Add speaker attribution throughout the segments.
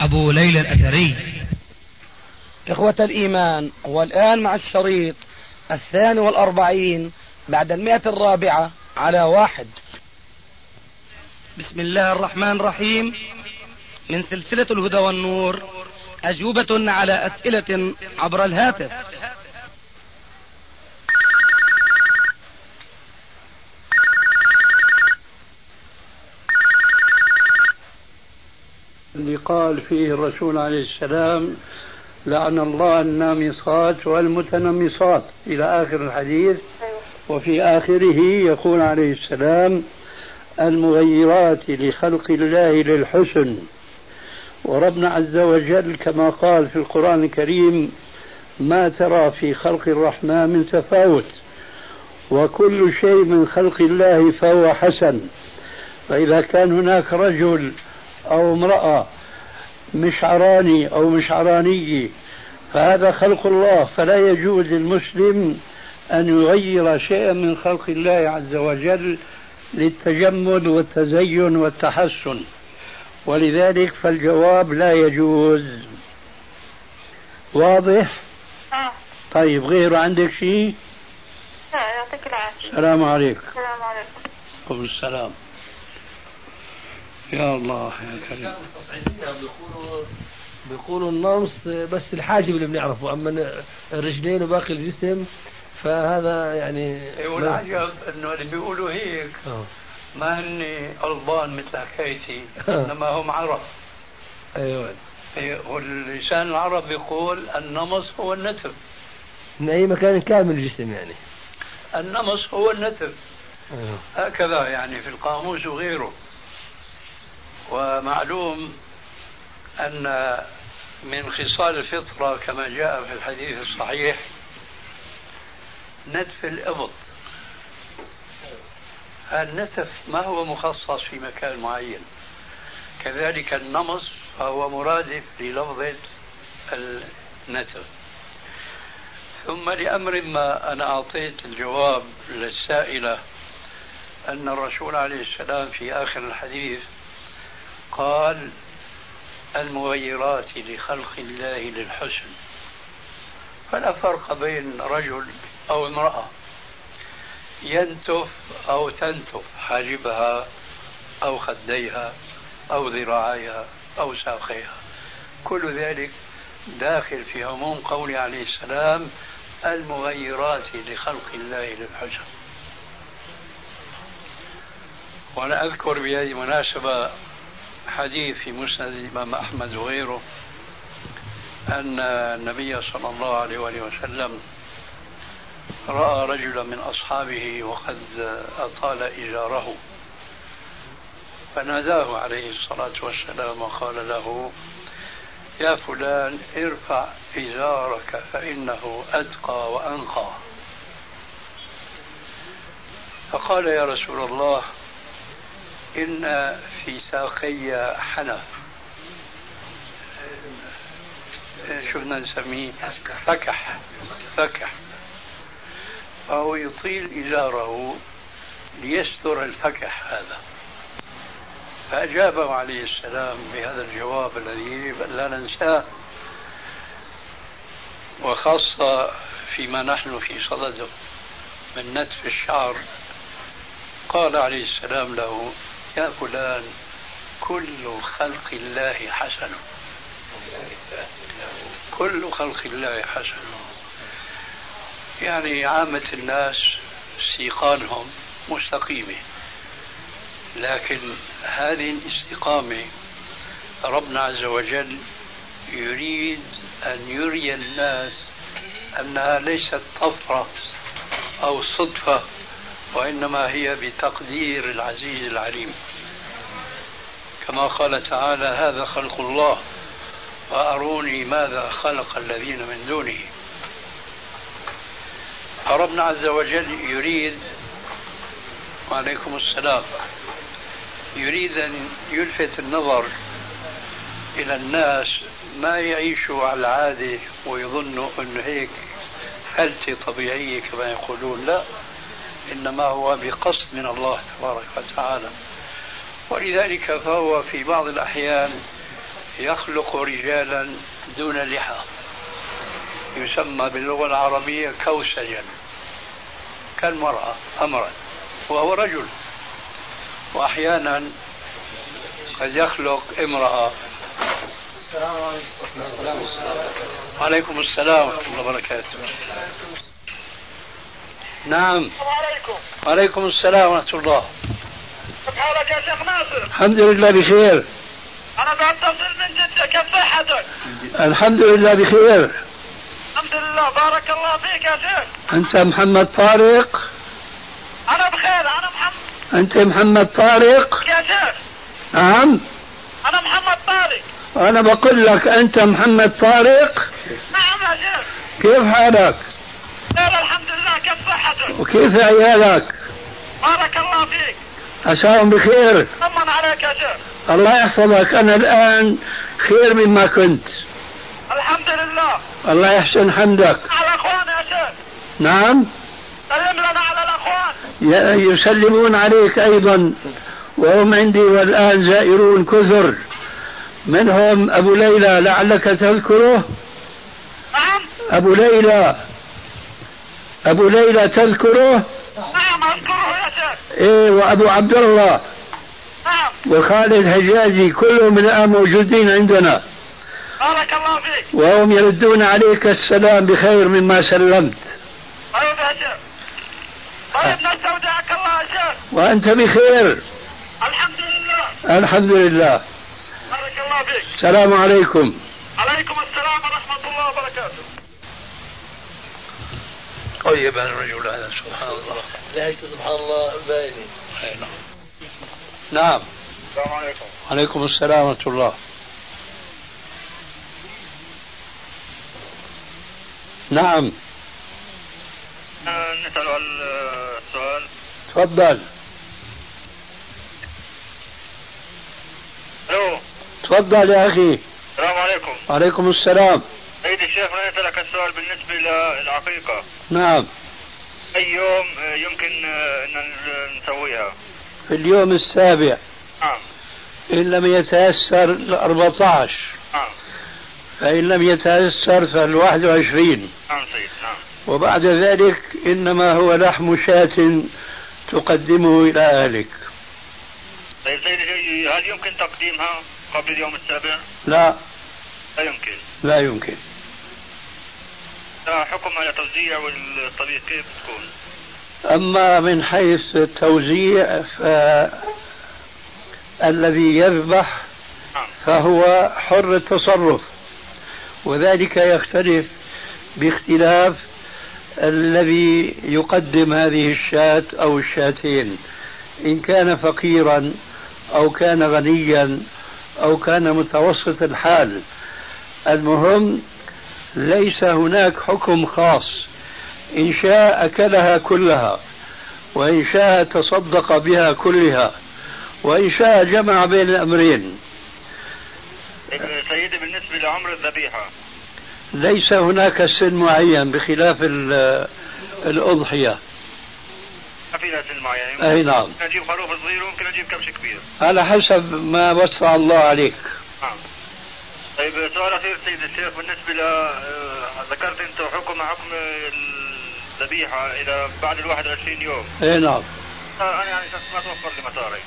Speaker 1: أبو ليلى الأثري إخوة الإيمان والآن مع الشريط الثاني والأربعين بعد المئة الرابعة على واحد بسم الله الرحمن الرحيم من سلسلة الهدى والنور أجوبة على أسئلة عبر الهاتف
Speaker 2: اللي قال فيه الرسول عليه السلام لعن الله النامصات والمتنمصات إلى آخر الحديث وفي آخره يقول عليه السلام المغيرات لخلق الله للحسن وربنا عز وجل كما قال في القرآن الكريم ما ترى في خلق الرحمن من تفاوت وكل شيء من خلق الله فهو حسن فإذا كان هناك رجل أو امرأة مشعراني أو مشعرانية فهذا خلق الله فلا يجوز للمسلم أن يغير شيئا من خلق الله عز وجل للتجمل والتزين والتحسن ولذلك فالجواب لا يجوز واضح؟
Speaker 3: آه.
Speaker 2: طيب غيره عندك شيء؟
Speaker 3: لا يعطيك العافية
Speaker 2: السلام عليكم
Speaker 3: السلام عليكم
Speaker 2: وعليكم السلام يا الله يا كريم
Speaker 4: بيقولوا بيقولوا النمص بس الحاجب اللي بنعرفه اما الرجلين وباقي الجسم فهذا يعني
Speaker 2: أيوة،
Speaker 4: ما-
Speaker 2: إيه، والعجب انه اللي بيقولوا هيك
Speaker 4: آه.
Speaker 2: ما هن البان مثل حكايتي
Speaker 4: آه.
Speaker 2: انما هم عرب
Speaker 4: ايوه
Speaker 2: واللسان العرب يقول النمص هو النتف
Speaker 4: من اي مكان كامل الجسم يعني
Speaker 2: النمص هو النتف
Speaker 4: أيوة.
Speaker 2: هكذا يعني في القاموس وغيره ومعلوم ان من خصال الفطره كما جاء في الحديث الصحيح نتف الابط النتف ما هو مخصص في مكان معين كذلك النمص فهو مرادف للفظة النتف ثم لأمر ما أنا أعطيت الجواب للسائلة أن الرسول عليه السلام في آخر الحديث قال المغيرات لخلق الله للحسن فلا فرق بين رجل أو امرأة ينتف أو تنتف حاجبها أو خديها أو ذراعيها أو ساقيها كل ذلك داخل في عموم قوله عليه السلام المغيرات لخلق الله للحسن وأنا أذكر بهذه المناسبة حديث في مسند الإمام أحمد وغيره أن النبي صلى الله عليه وآله وسلم رأى رجلا من أصحابه وقد أطال إزاره فناداه عليه الصلاة والسلام وقال له يا فلان ارفع إزارك فإنه أتقى وأنقى فقال يا رسول الله إن في ساقي حنف شو بدنا نسميه فكح فكح فهو يطيل إزاره ليستر الفكح هذا فأجابه عليه السلام بهذا الجواب الذي لا ننساه وخاصة فيما نحن في صدده من نتف الشعر قال عليه السلام له يا فلان كل خلق الله حسن كل خلق الله حسن يعني عامة الناس سيقانهم مستقيمة لكن هذه الاستقامة ربنا عز وجل يريد أن يري الناس أنها ليست طفرة أو صدفة وإنما هي بتقدير العزيز العليم كما قال تعالى هذا خلق الله فأروني ماذا خلق الذين من دونه فربنا عز وجل يريد وعليكم السلام يريد أن يلفت النظر إلى الناس ما يعيشوا على العادة ويظنوا أن هيك هلتة طبيعية كما يقولون لا إنما هو بقصد من الله تبارك وتعالى ولذلك فهو في بعض الأحيان يخلق رجالا دون لحى يسمى باللغة العربية كوسجا كالمرأة أمرا وهو رجل وأحيانا قد يخلق امرأة
Speaker 5: السلام عليكم
Speaker 2: وعليكم السلام ورحمة الله وبركاته نعم
Speaker 3: السلام عليكم
Speaker 2: وعليكم السلام ورحمة الله
Speaker 3: حالك يا شيخ ناصر
Speaker 2: الحمد لله بخير
Speaker 3: انا بتصل من جدة كيف صحتك؟
Speaker 2: الحمد لله بخير
Speaker 3: الحمد لله بارك الله فيك يا شيخ
Speaker 2: أنت محمد طارق
Speaker 3: انا بخير انا محمد
Speaker 2: أنت محمد طارق
Speaker 3: يا شيخ
Speaker 2: نعم
Speaker 3: انا محمد طارق
Speaker 2: أنا بقول لك أنت محمد طارق
Speaker 3: نعم يا شيخ
Speaker 2: كيف حالك
Speaker 3: خير الحمد لله كيف صحتك؟
Speaker 2: وكيف عيالك
Speaker 3: بارك الله فيك
Speaker 2: عساهم بخير
Speaker 3: طمن عليك يا شيخ
Speaker 2: الله يحفظك أنا الآن خير مما كنت
Speaker 3: الحمد لله
Speaker 2: الله يحسن حمدك
Speaker 3: على الاخوان يا شيخ
Speaker 2: نعم
Speaker 3: سلم لنا على الاخوان
Speaker 2: ي- يسلمون عليك أيضا وهم عندي والآن زائرون كثر منهم أبو ليلى لعلك تذكره
Speaker 3: نعم
Speaker 2: أبو ليلى أبو ليلى تذكره
Speaker 3: نعم اذكره يا شيخ
Speaker 2: إيه وأبو عبد الله
Speaker 3: نعم
Speaker 2: وخالد هجاجي كلهم الآن موجودين عندنا
Speaker 3: بارك الله فيك
Speaker 2: وهم يردون عليك السلام بخير مما سلمت
Speaker 3: طيب يا شيخ طيب نستودعك الله يا شيخ
Speaker 2: آه. وأنت بخير
Speaker 3: الحمد لله
Speaker 2: الحمد لله
Speaker 3: بارك الله فيك
Speaker 2: السلام عليكم
Speaker 3: عليكم السلام ورحمة الله وبركاته
Speaker 2: طيبا الرجل هذا سبحان الله
Speaker 5: لهجته سبحان الله باينه
Speaker 2: أي نعم. نعم
Speaker 3: السلام عليكم
Speaker 2: عليكم السلام ورحمة الله نعم
Speaker 3: آه، نسأل عن آه، السؤال
Speaker 2: تفضل
Speaker 3: الو
Speaker 2: تفضل يا أخي
Speaker 3: السلام عليكم
Speaker 2: عليكم السلام
Speaker 3: سيدي الشيخ أنا أسألك السؤال بالنسبة للعقيقة
Speaker 2: نعم
Speaker 3: أي يوم آه، يمكن أن نسويها
Speaker 2: في اليوم السابع
Speaker 3: نعم
Speaker 2: إن لم يتيسر ال 14
Speaker 3: نعم
Speaker 2: فإن لم يتيسر فال 21
Speaker 3: نعم سيد نعم
Speaker 2: وبعد ذلك إنما هو لحم شاة تقدمه إلى أهلك
Speaker 3: طيب سيدي هل يمكن تقديمها قبل اليوم السابع؟
Speaker 2: لا
Speaker 3: لا يمكن آه،
Speaker 2: لا يمكن
Speaker 3: حكم على توزيع والطبيعة كيف تكون؟
Speaker 2: أما من حيث التوزيع فالذي يذبح
Speaker 3: نعم
Speaker 2: فهو حر التصرف وذلك يختلف باختلاف الذي يقدم هذه الشاة أو الشاتين إن كان فقيرا أو كان غنيا أو كان متوسط الحال المهم ليس هناك حكم خاص إن شاء أكلها كلها وإن شاء تصدق بها كلها وإن شاء جمع بين الأمرين
Speaker 3: طيب، آه، سيدي بالنسبة لعمر الذبيحة
Speaker 2: ليس هناك سن معين بخلاف ال- آه، الأضحية
Speaker 3: ما في لها سن معين يمكن
Speaker 2: أي نعم
Speaker 3: أجيب يعني؟ خروف صغير وممكن أجيب كبش كبير
Speaker 2: على حسب ما وسع الله عليك
Speaker 3: نعم طيب سؤال أخير سيد الشيخ بالنسبة ل آه، ذكرت أنت حكم حكم الذبيحة إلى بعد ال 21 يوم
Speaker 2: أي نعم
Speaker 3: آه، أنا يعني شخص ما توفر لي مصاري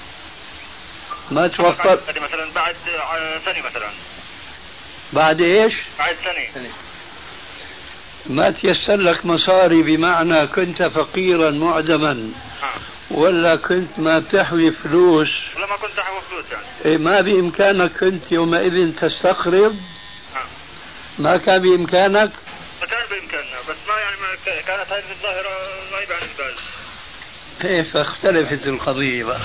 Speaker 2: ما توفر
Speaker 3: يعني مثلا بعد آه، سنة مثلا
Speaker 2: بعد إيش
Speaker 3: بعد سنة
Speaker 2: ما تيسر لك مصاري بمعنى كنت فقيرا معدما
Speaker 3: نعم
Speaker 2: ولا كنت ما بتحوي فلوس
Speaker 3: ولما كنت أحوى فلوس يعني
Speaker 2: إيه ما بإمكانك كنت يومئذ تستقرض
Speaker 3: نعم
Speaker 2: ما كان بإمكانك
Speaker 3: فكان بإمكاننا بس ما يعني ما ك- كانت هذه الظاهرة غايبة عن البال
Speaker 2: كيف اختلفت القضية بقى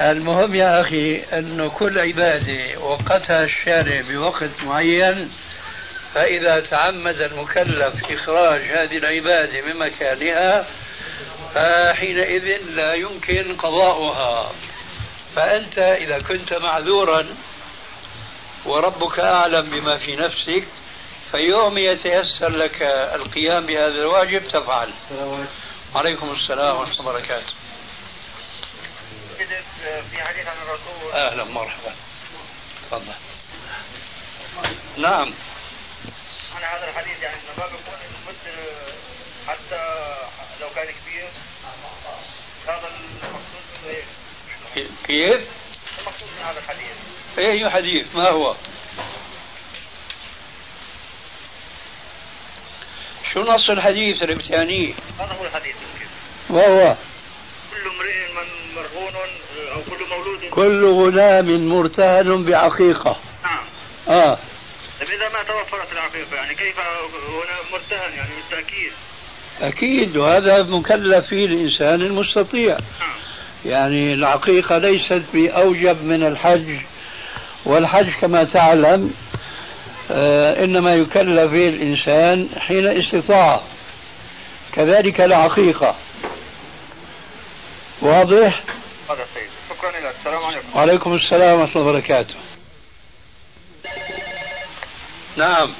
Speaker 2: المهم يا أخي أنه كل عبادة وقتها الشارع بوقت معين فإذا تعمد المكلف إخراج هذه العبادة من مكانها فحينئذ لا يمكن قضاؤها فأنت إذا كنت معذورا وربك أعلم بما في نفسك فيوم يتيسر لك القيام بهذا الواجب تفعل عليكم السلام ورحمة الله وبركاته
Speaker 4: كذب آه، في حديث عن الرسول
Speaker 2: أهلا مرحبا تفضل نعم
Speaker 4: عن هذا الحديث يعني انه ما بيكون المسلم حتى لو كان كبير هذا المقصود منه هيك
Speaker 2: كيف؟ إيه،
Speaker 4: المقصود من هذا الحديث
Speaker 2: أي حديث ما هو؟ شو نص الحديث اللي بتعنيه؟
Speaker 4: هذا هو الحديث يمكن
Speaker 2: ما هو؟
Speaker 4: كل امرئ من مرهون او كل مولود
Speaker 2: كل غلام مرتهن بعقيقة
Speaker 4: نعم
Speaker 2: آه
Speaker 4: طيب اذا ما توفرت العقيقه يعني كيف هنا مرتهن يعني بالتاكيد
Speaker 2: أكيد وهذا مكلف فيه الإنسان المستطيع
Speaker 4: نعم
Speaker 2: يعني العقيقة ليست بأوجب من الحج والحج كما تعلم آه، إنما يكلف به الإنسان حين استطاعه كذلك العقيقة واضح؟
Speaker 4: هذا السيد شكرا لك السلام عليكم
Speaker 2: وعليكم السلام ورحمة الله وبركاته نعم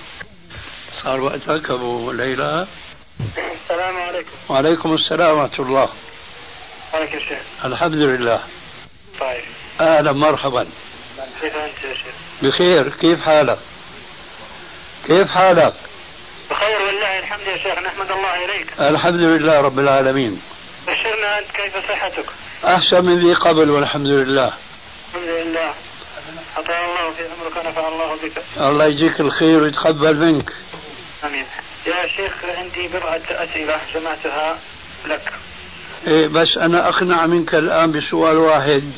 Speaker 2: صار وقتك أبو ليلى
Speaker 4: السلام عليكم
Speaker 2: وعليكم السلام ورحمة الله
Speaker 4: عليك الشيخ
Speaker 2: الحمد لله
Speaker 4: طيب
Speaker 2: أهلا مرحبا
Speaker 4: كيف انت يا شيخ؟
Speaker 2: بخير كيف حالك كيف حالك
Speaker 4: بخير والله الحمد يا شيخ نحمد الله اليك
Speaker 2: الحمد لله رب العالمين
Speaker 4: بشرنا انت كيف صحتك؟
Speaker 2: أحسن من ذي قبل والحمد لله
Speaker 4: الحمد لله عطا الله في عمرك ونفع الله بك
Speaker 2: الله يجيك الخير ويتقبل منك
Speaker 4: امين يا شيخ عندي بضعه اسئله جمعتها لك
Speaker 2: إيه بس أنا أقنع منك الآن بسؤال واحد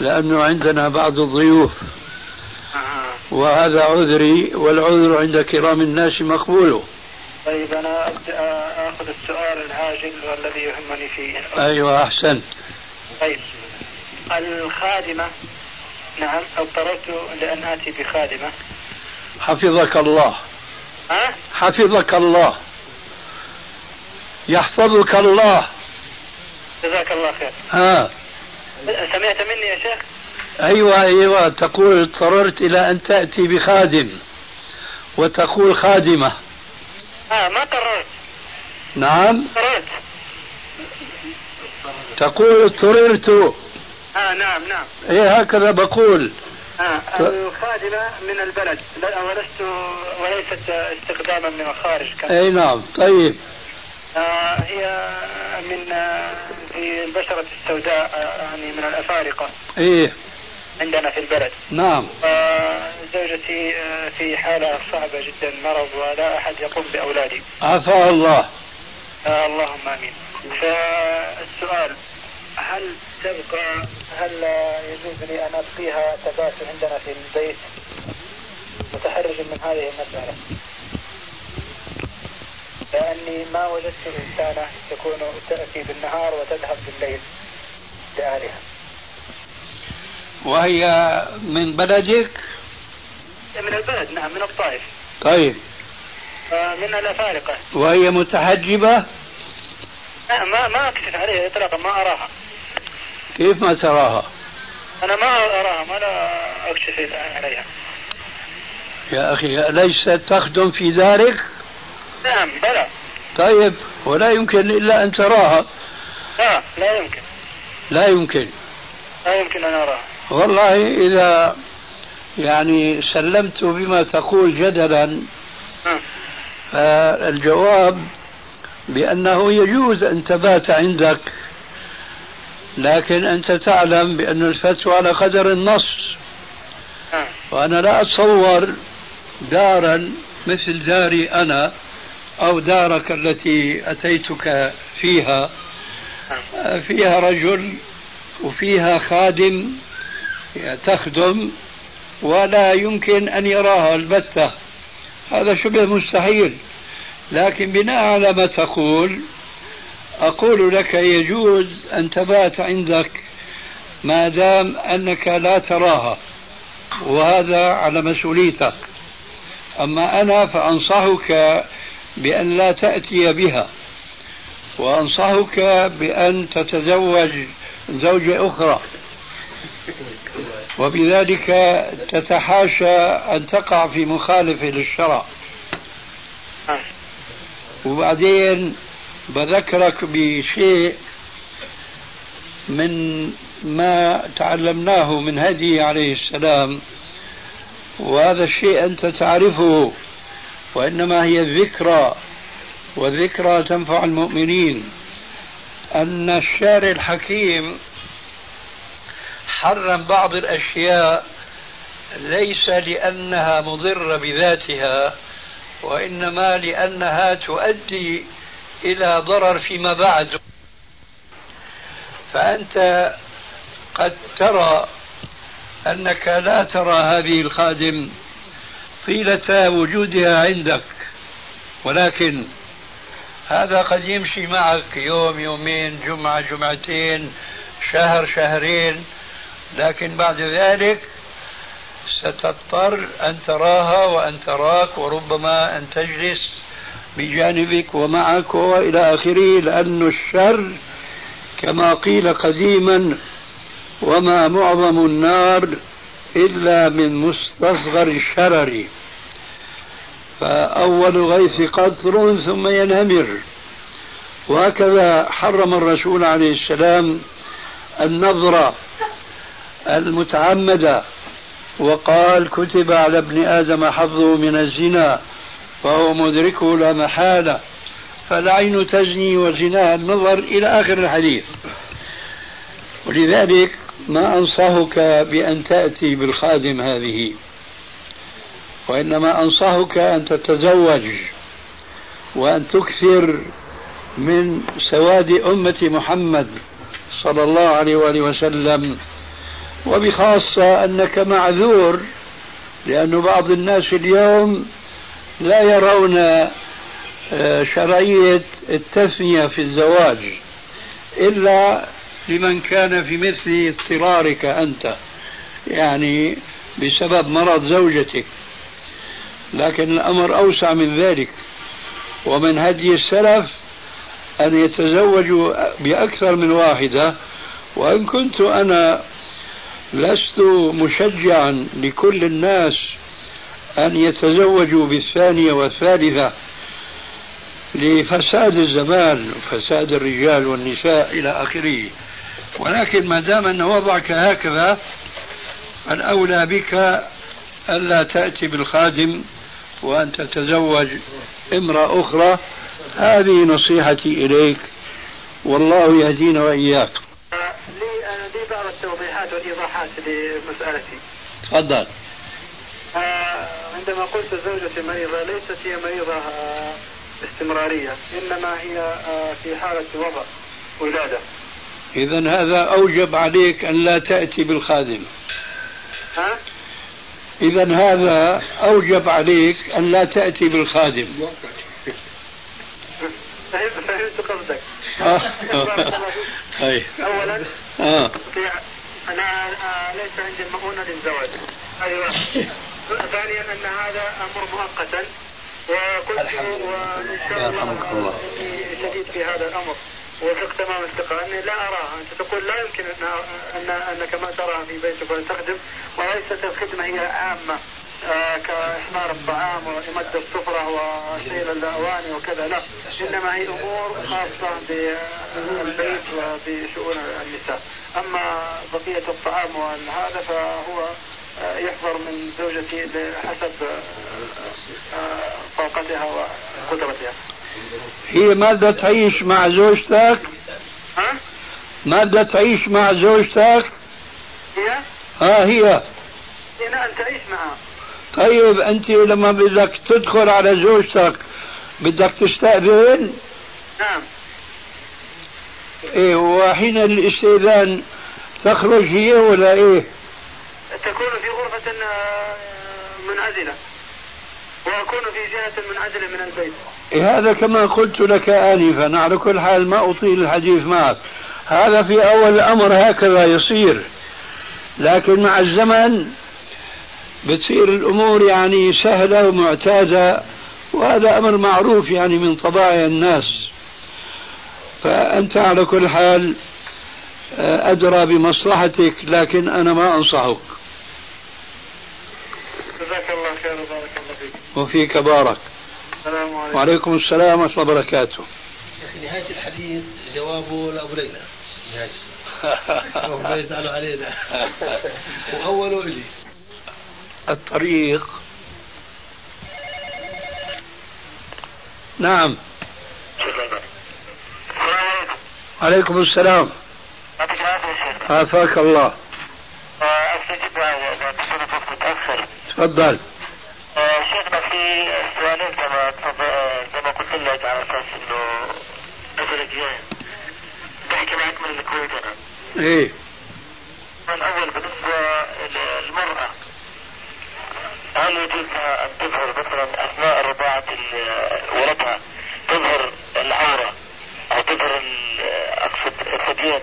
Speaker 2: لأنه عندنا بعض الضيوف
Speaker 4: آه.
Speaker 2: وهذا عذري والعذر عند كرام الناس مقبوله
Speaker 4: طيب انا ابدا اخذ السؤال العاجل والذي يهمني فيه
Speaker 2: أيوة أحسنت
Speaker 4: طيب الخادمه نعم اضطررت لان اتي بخادمه
Speaker 2: حفظك الله
Speaker 4: ها؟
Speaker 2: حفظك الله يحفظك الله
Speaker 4: جزاك الله خير
Speaker 2: ها
Speaker 4: سمعت مني يا شيخ؟
Speaker 2: أيوة أيوة تقول اضطررت إلى أن تأتي بخادم وتقول خادمة
Speaker 3: آه،
Speaker 4: اه ما قررت
Speaker 2: نعم
Speaker 4: قررت
Speaker 2: تقول اضطررت
Speaker 4: اه نعم نعم
Speaker 2: إيه هكذا بقول
Speaker 4: آه الخادمة من البلد لا- ولست وليست استخداما من الخارج كان
Speaker 2: أي نعم طيب
Speaker 4: آه هي من آه، في البشرة السوداء آه، يعني من الأفارقة
Speaker 2: إيه
Speaker 4: عندنا في البلد
Speaker 2: نعم
Speaker 4: آه، زوجتي آه، في حالة صعبة جدا مرض ولا أحد يقوم بأولادي
Speaker 2: عفا الله
Speaker 4: آه اللهم امين. فالسؤال هل تبقى هل يجوز لي ان ابقيها تبات عندنا في البيت؟ متحرج من هذه المساله. لاني ما وجدت انسانه تكون تاتي بالنهار وتذهب بالليل لاهلها.
Speaker 2: وهي من بلدك
Speaker 4: من البلد نعم من الطائف
Speaker 2: طيب
Speaker 4: آه، من الافارقه
Speaker 2: وهي متحجبة
Speaker 4: لا، ما ما اكشف عليها اطلاقا ما اراها
Speaker 2: كيف ما تراها
Speaker 4: انا ما اراها ما لا اكشف عليها
Speaker 2: يا أخي ليست تخدم في دارك
Speaker 4: نعم بلى
Speaker 2: طيب ولا يمكن إلا أن تراها
Speaker 4: لا لا يمكن
Speaker 2: لا يمكن
Speaker 4: لا يمكن ان اراها
Speaker 2: والله إذا يعني سلمت بما تقول جدلا
Speaker 4: آه.
Speaker 2: فالجواب بأنه يجوز أن تبات عندك لكن أنت تعلم بأن الفتوى على قدر النص
Speaker 4: آه.
Speaker 2: وأنا لا أتصور دارا مثل داري أنا أو دارك التي أتيتك فيها فيها رجل وفيها خادم تخدم ولا يمكن أن يراها البتة هذا شبه مستحيل لكن بناء على ما تقول أقول لك يجوز أن تبات عندك ما دام أنك لا تراها وهذا على مسؤوليتك أما أنا فأنصحك بأن لا تأتي بها وأنصحك بأن تتزوج زوجة أخرى وبذلك تتحاشى أن تقع في مخالفة للشرع
Speaker 3: آه.
Speaker 4: نعم.
Speaker 2: وبعدين بذكرك بشيء من ما تعلمناه من هدي عليه السلام وهذا الشيء أنت تعرفه وإنما هي ذكرى والذكرى تنفع المؤمنين أن الشارع الحكيم حرم بعض الأشياء ليس لأنها مضرة بذاتها وإنما لأنها تؤدي إلى ضرر فيما بعد فأنت قد ترى أنك لا ترى هذه الخادم طيلة وجودها عندك ولكن هذا قد يمشي معك يوم يومين جمعة جمعتين شهر شهرين لكن بعد ذلك ستضطر أن تراها وأن تراك وربما أن تجلس بجانبك ومعك وإلى آخره لأن الشر كما قيل قديما وما معظم النار إلا من مستصغر الشرر فأول غيث قطر ثم ينهمر وهكذا حرم الرسول عليه السلام النظرة المتعمدة وقال كتب على ابن آدم حظه من الزنا فهو مدركه لا محالة فالعين تزني وزناها النظر إلى آخر الحديث ولذلك ما أنصحك بأن تأتي بالخادم هذه وإنما أنصحك أن تتزوج وأن تكثر من سواد أمة محمد صلى الله عليه وآله وسلم وبخاصة أنك معذور لأن بعض الناس اليوم لا يرون آه، شرعية التثنية في الزواج إلا لمن كان في مثل اضطرارك أنت يعني بسبب مرض زوجتك لكن الأمر أوسع من ذلك ومن هدي السلف أن يتزوجوا بأكثر من واحدة وإن كنت أنا لست مشجعا لكل الناس أن يتزوجوا بالثانية والثالثة لفساد الزمان وفساد الرجال والنساء إلى آخره ولكن ما دام أن وضعك هكذا الأولى بك ألا تأتي بالخادم وأن تتزوج امرأة أخرى هذه نصيحتي إليك والله يهدينا وإياك
Speaker 4: لي أنا لي بعض التوضيحات والإيضاحات لمسألتي
Speaker 2: تفضل
Speaker 4: آه، عندما قلت زوجتي مريضة ليست هي مريضة آه، استمرارية إنما هي آه، في حالة وضع ولادة
Speaker 2: إذا هذا أوجب عليك أن لا تأتي بالخادم
Speaker 4: ها؟
Speaker 2: إذا هذا أوجب عليك أن لا تأتي بالخادم
Speaker 4: فهمت فهمت قصدك
Speaker 2: آه. أي.
Speaker 4: أولا
Speaker 2: آه.
Speaker 4: في أنا آه، ليس عندي المؤونة للزواج هذه واحدة ثانيا أن هذا أمر مؤقتا وقلت وإن شاء
Speaker 2: يرحمك الله.
Speaker 4: الله إني شديد في هذا الأمر وفق تمام الثقة أني لا أراها أنت تقول لا يمكن أن أن أنك ما تراها في بيتك وأن تخدم وليست الخدمة هي عامة آه، كإحضار الطعام وإمد السفرة وشيل الأواني وكذا لا إنما هي أمور خاصة بالبيت وبشؤون النساء أما بقية الطعام وهذا فهو آه، يحضر من زوجتي حسب آه، آه، طاقتها وقدرتها
Speaker 2: هي ما بدها تعيش مع زوجتك
Speaker 4: ها؟
Speaker 2: ما بدها تعيش مع زوجتك
Speaker 4: هي؟
Speaker 2: ها هي
Speaker 4: هنا أن تعيش معها
Speaker 2: طيب أنت لما بدك تدخل على زوجتك بدك تستأذن
Speaker 4: نعم
Speaker 2: إيه وحين الاستئذان تخرج هي ولا إيه
Speaker 4: تكون في غرفة آه، منعزلة وأكون في جهة منعزلة من البيت
Speaker 2: نعم، إيه هذا كما قلت لك آنفا على كل حال ما أطيل الحديث معك هذا في أول الأمر هكذا يصير لكن مع الزمن بتصير الأمور يعني سهلة ومعتادة وهذا أمر معروف يعني من طبائع الناس فأنت على كل حال آه، أدرى بمصلحتك لكن أنا ما أنصحك
Speaker 6: جزاك الله خير وبارك الله فيك
Speaker 2: وفيك بارك
Speaker 6: السلام عليكم
Speaker 2: وعليكم السلام ورحمة الله وبركاته
Speaker 4: نهاية الحديث جوابه لأبو ليلى نهاية ربنا يزعلوا علينا وأوله إلي
Speaker 2: الطريق نعم
Speaker 6: السلام عليكم
Speaker 2: عليكم السلام
Speaker 6: يعطيك العافية يا شيخ
Speaker 2: عافاك الله
Speaker 6: آه، أسف جدا واتصل بوقت متأخر
Speaker 2: تفضل
Speaker 6: آه، شيخنا في سؤالين زي ما تفضل- آه، زي ما قلت لك على أساس إنه أسألك إياه بحكي معك من الكويت أنا
Speaker 2: ايه
Speaker 6: الأول بالنسبة للمرأة هل يجوز لها أن تظهر مثلا أثناء رضاعة ال- ولدها تظهر العورة أو تظهر ال- أقصد الثديين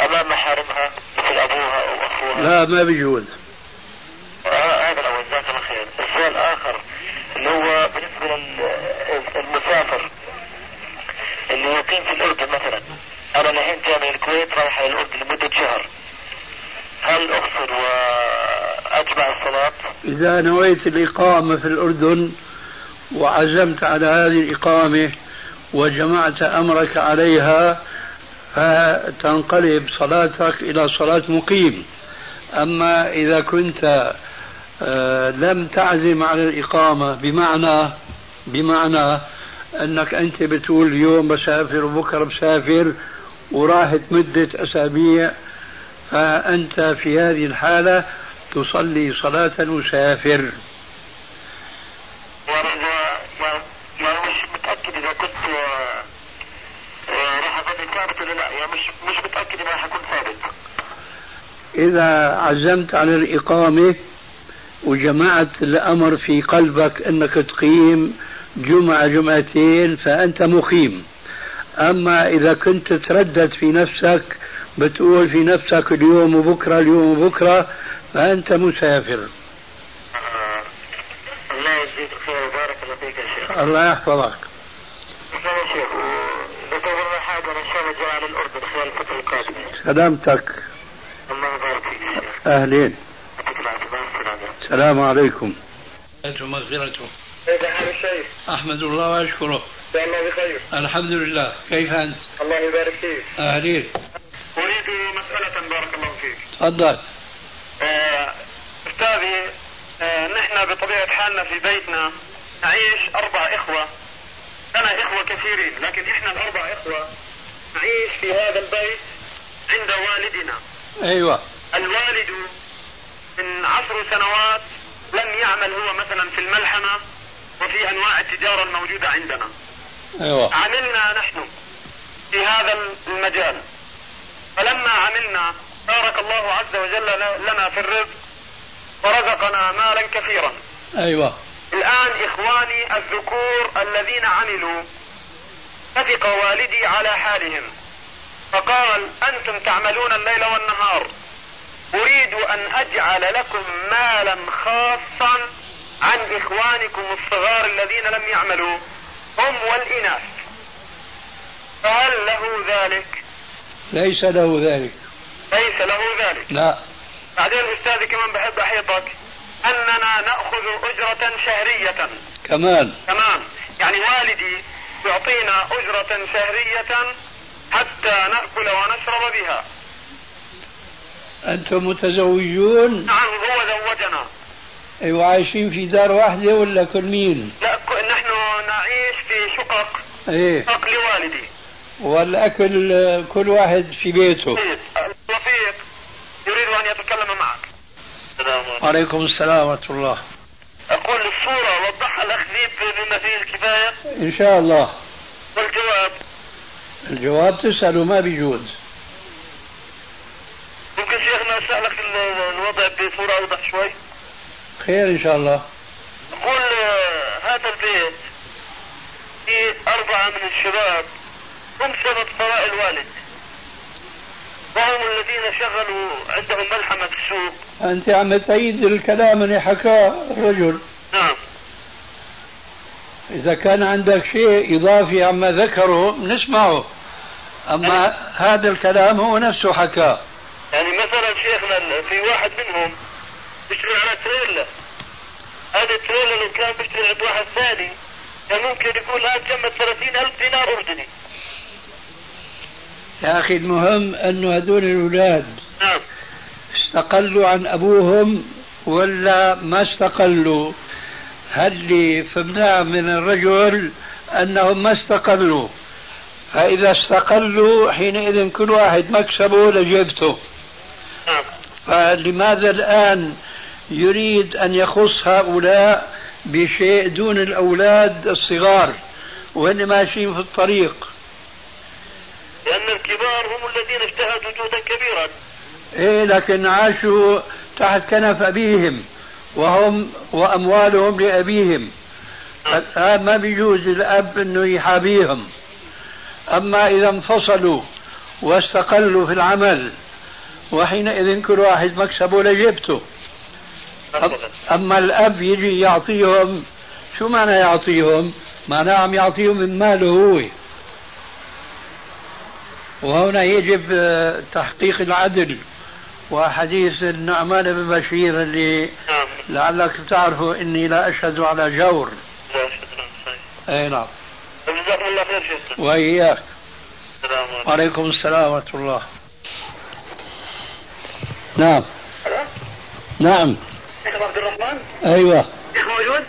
Speaker 6: أمام محارمها مثل أبوها أو أخوها
Speaker 2: لا ما بيجوز
Speaker 6: آه، هذا الأول جزاك الله خير السؤال الآخر اللي هو بالنسبة للمسافر اللي يقيم في الأردن مثلا أنا الحين جاي من الكويت رايح إلى الأردن لمدة شهر هل أقصر وأجمع الصلاة؟
Speaker 2: إذا نويت الإقامة في الأردن وعزمت على هذه الإقامة وجمعت أمرك عليها فتنقلب صلاتك إلى صلاة مقيم أما إذا كنت آه، لم تعزم على الإقامة بمعنى بمعنى أنك أنت بتقول اليوم بسافر وبكرة بسافر وراحت مدة أسابيع فأنت في هذه الحالة تصلي صلاة المسافر
Speaker 6: يعني إذا يعني- يعني مش متأكد إذا كنت آه، آه، راح أكون ثابت ولا لا يعني مش مش متأكد إذا راح أكون ثابت
Speaker 2: إذا عزمت على الإقامة وجمعت الأمر في قلبك أنك تقيم جمعة جمعتين فأنت مقيم أما إذا كنت تردد في نفسك بتقول في نفسك اليوم وبكرة اليوم وبكرة فأنت مسافر
Speaker 6: آه، الله يجزيك خير وبارك الله فيك يا شيخ
Speaker 2: الله يحفظك
Speaker 6: يا شيخ بطور حاجة أنا إن شاء الله جاي على الأردن خلال الفترة القادمة
Speaker 2: سلامتك
Speaker 6: الله يبارك فيك يا شيخ
Speaker 2: أهلين
Speaker 6: يعطيك العافية مع السلامة
Speaker 2: السلام عليكم
Speaker 7: مغفرته
Speaker 6: كيف حال الشيخ؟
Speaker 7: أحمد الله وأشكره
Speaker 6: يا الله بخير
Speaker 7: الحمد لله كيف أنت
Speaker 6: الله يبارك فيك
Speaker 7: أهلين
Speaker 6: أريد مسألة بارك الله فيك
Speaker 2: تفضل
Speaker 6: آه، أستاذي آه، نحن بطبيعة حالنا في بيتنا نعيش أربع إخوة أنا إخوة كثيرين لكن إحنا الأربع إخوة نعيش في هذا البيت عند والدنا
Speaker 2: أيوة
Speaker 6: الوالد من عشر سنوات لم يعمل هو مثلا في الملحمة وفي أنواع التجارة الموجودة عندنا
Speaker 2: أيوة
Speaker 6: عملنا نحن في هذا المجال فلما عملنا بارك الله عز وجل لنا في الرزق ورزقنا مالا كثيرا
Speaker 2: أيوة
Speaker 6: الآن إخواني الذكور الذين عملوا نفق والدي على حالهم فقال أنتم تعملون الليل والنهار أريد أن أجعل لكم مالا خاصا عن إخوانكم الصغار الذين لم يعملوا هم والإناث فهل له ذلك؟
Speaker 2: ليس له ذلك
Speaker 6: ليس له ذلك
Speaker 2: لا
Speaker 6: بعدين أستاذي كمان بحب أحيطك أننا نأخذ أجرة شهرية
Speaker 2: كمان
Speaker 6: تمام يعني والدي يعطينا أجرة شهرية حتى نأكل ونشرب بها
Speaker 2: أنتم متزوجون
Speaker 6: نعم هو زوجنا
Speaker 2: وعايشين في دار واحدة ولا كل مين؟
Speaker 6: لا ك- نحن نعيش في شقق
Speaker 2: إيه
Speaker 6: شقق لوالدي
Speaker 2: والأكل آه، كل واحد في بيته
Speaker 6: طيب، الرفيق يريد أن يتكلم معك السلام عليكم.
Speaker 2: وعليكم السلام ورحمة الله
Speaker 6: أقول الصورة وضحها الأخ ذيب بما فيه الكفاية
Speaker 2: إن شاء الله
Speaker 6: والجواب
Speaker 2: الجواب تسأله ما بيجوز
Speaker 6: ممكن شيخنا أسألك ال- الوضع بصورة أوضح شوي
Speaker 2: خير إن شاء الله
Speaker 6: يقول آه، هذا البيت في أربعة من الشباب هم سبب ثراء الوالد وهم الذين شغلوا عندهم ملحمة في السوق
Speaker 2: أنت عم تعيد الكلام اللي حكاه الرجل
Speaker 6: نعم
Speaker 2: إذا كان عندك شيء إضافي عما ذكره بنسمعه أما هذا الكلام هو نفسه حكاه
Speaker 6: يعني مثلا شيخنا ال- في واحد منهم بيشتري على تريلا هذا التريلا لو كان بيشتري عند واحد ثاني كان ممكن يقول هذا جمع 30 ألف دينار أردني
Speaker 2: يا أخي المهم أنه هذول الأولاد
Speaker 6: نعم
Speaker 2: استقلوا عن أبوهم ولا ما استقلوا هل اللي فهمناه من الرجل أنهم ما استقلوا فإذا استقلوا حينئذ كل واحد مكسبه لجيبته
Speaker 6: نعم
Speaker 2: فلماذا الآن يريد أن يخص هؤلاء بشيء دون الأولاد الصغار وهن ماشيين في الطريق
Speaker 6: لأن الكبار هم الذين اجتهدوا جهدا كبيرا
Speaker 2: إيه لكن عاشوا تحت كنف أبيهم وهم وأموالهم لأبيهم الآن ما بيجوز الأب أنه يحابيهم أما إذا انفصلوا واستقلوا في العمل وحينئذ كل واحد مكسبه لجيبته
Speaker 6: مثلا
Speaker 2: أما الأب يجي يعطيهم شو معنى يعطيهم معناه عم يعطيهم من ماله هو وهنا يجب آه، تحقيق العدل وحديث النعمان بن بشير اللي
Speaker 6: نعم
Speaker 2: لعلك تعرفه إني لا أشهد على جور
Speaker 6: لا شكرا صحيح
Speaker 2: أي نعم
Speaker 6: جزاكم الله خير شيخنا
Speaker 2: وإياك
Speaker 6: السلام عليكم
Speaker 2: وعليكم السلام ورحمة الله نعم
Speaker 6: الو
Speaker 2: نعم
Speaker 6: شيخ عبد الرحمن
Speaker 2: أيوة
Speaker 6: شيخ موجود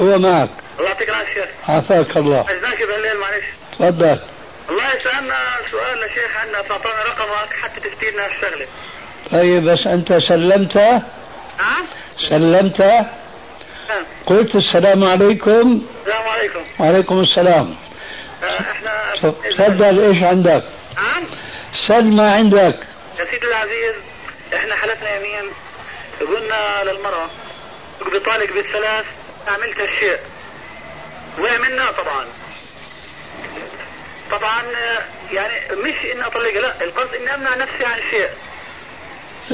Speaker 2: هو معك
Speaker 6: الله يعطيك العافيه شيخ
Speaker 2: عافاك الله
Speaker 6: عزناك بالليل معلش
Speaker 2: تفضل
Speaker 6: والله سالنا سؤال يا شيخ عنا تعطونا رقمك حتى تفتينا الشغله
Speaker 2: طيب بس أنت سلمته
Speaker 6: نعم
Speaker 2: سلمت
Speaker 6: نعم.
Speaker 2: قلت السلام عليكم
Speaker 6: السلام عليكم
Speaker 2: وعليكم السلام
Speaker 6: آه، احنا
Speaker 2: تفضل ايش عندك
Speaker 6: نعم
Speaker 2: سل ما عندك
Speaker 6: يا سيدي العزيز احنا حلفنا يمين قلنا للمرأة بطالق بالثلاث عملت الشيء ومنا طبعا طبعا آه، يعني مش اني اطلقها لا القصد اني امنع نفسي عن شيء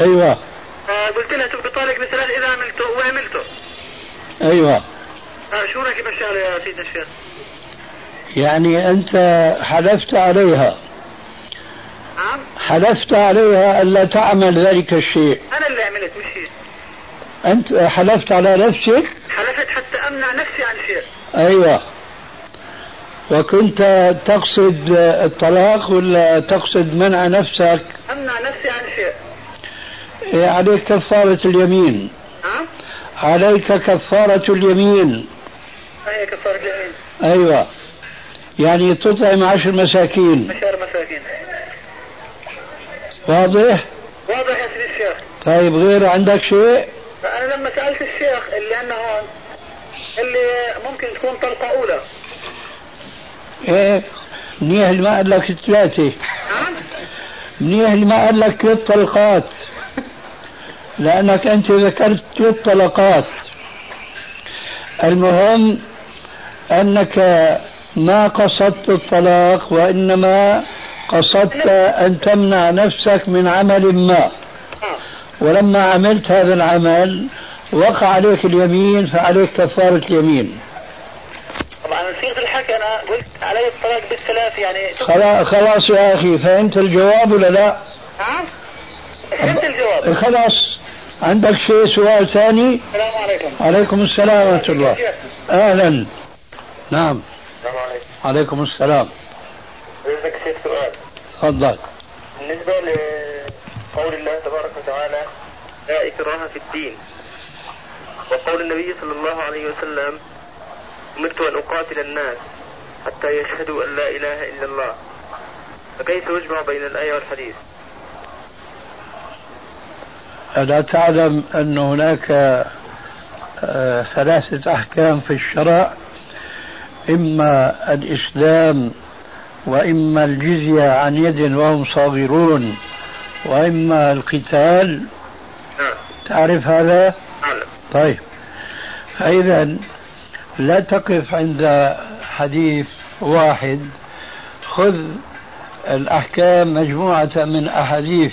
Speaker 2: ايوه
Speaker 6: آه، قلت لها تبقى طالق بالثلاث اذا عملته وعملته
Speaker 2: ايوه
Speaker 6: آه، شو رايك بالشغل يا سيدنا الشيخ؟
Speaker 2: يعني انت حلفت عليها
Speaker 6: نعم
Speaker 2: حلفت عليها الا تعمل ذلك الشيء
Speaker 6: انا اللي عملت مش هي
Speaker 2: انت حلفت على نفسك
Speaker 6: حلفت حتى امنع نفسي عن شيء
Speaker 2: ايوه وكنت تقصد الطلاق ولا تقصد منع نفسك إيه،
Speaker 6: امنع نفسي عن شيء
Speaker 2: عليك كفارة اليمين
Speaker 6: نعم
Speaker 2: عليك كفارة اليمين
Speaker 6: هي كفاره اليمين
Speaker 2: ايوه يعني تطعم عشر مساكين
Speaker 6: مشاعر مساكين
Speaker 2: واضح
Speaker 6: واضح يا سيدي الشيخ
Speaker 2: طيب غير عندك شيء
Speaker 6: فانا لما سالت الشيخ اللي انا هون اللي ممكن تكون طلقه اولى
Speaker 2: ايه منيح اللي ما قال لك ثلاثة
Speaker 6: نعم
Speaker 2: منيح اللي ما قال لك ثلاث طلقات لأنك أنت ذكرت ثلاث طلقات المهم أنك ما قصدت الطلاق وإنما قصدت أن تمنع نفسك من عمل ما
Speaker 6: آه.
Speaker 2: ولما عملت هذا العمل وقع عليك اليمين فعليك كفارة اليمين
Speaker 6: طبعا صيغه الحكي انا قلت علي الطلاق بالثلاث يعني
Speaker 2: خلا- خلاص يا أخي فهمت الجواب ولا لا
Speaker 6: نعم فهمت الجواب
Speaker 2: خلاص عندك شيء سؤال ثاني
Speaker 6: السلام عليكم
Speaker 2: عليكم السلام ورحمة الله أهلا نعم
Speaker 6: السلام عليكم
Speaker 2: عليكم السلام
Speaker 6: بدك شيخ سؤال
Speaker 2: تفضل
Speaker 6: بالنسبه لقول الله تبارك وتعالى لا اكراه في الدين وقول النبي صلى الله عليه وسلم امرت ان اقاتل الناس حتى يشهدوا ان لا اله الا إيه، الله فكيف يجمع بين الايه والحديث؟
Speaker 2: ألا تعلم أن هناك آه، ثلاثة أحكام في الشرع إما الإسلام وإما الجزية عن يد وهم صاغرون وإما القتال
Speaker 6: نعم
Speaker 2: تعرف هذا؟
Speaker 6: اعلم
Speaker 2: طيب فإذا لا تقف عند حديث واحد خذ الأحكام مجموعة من أحاديث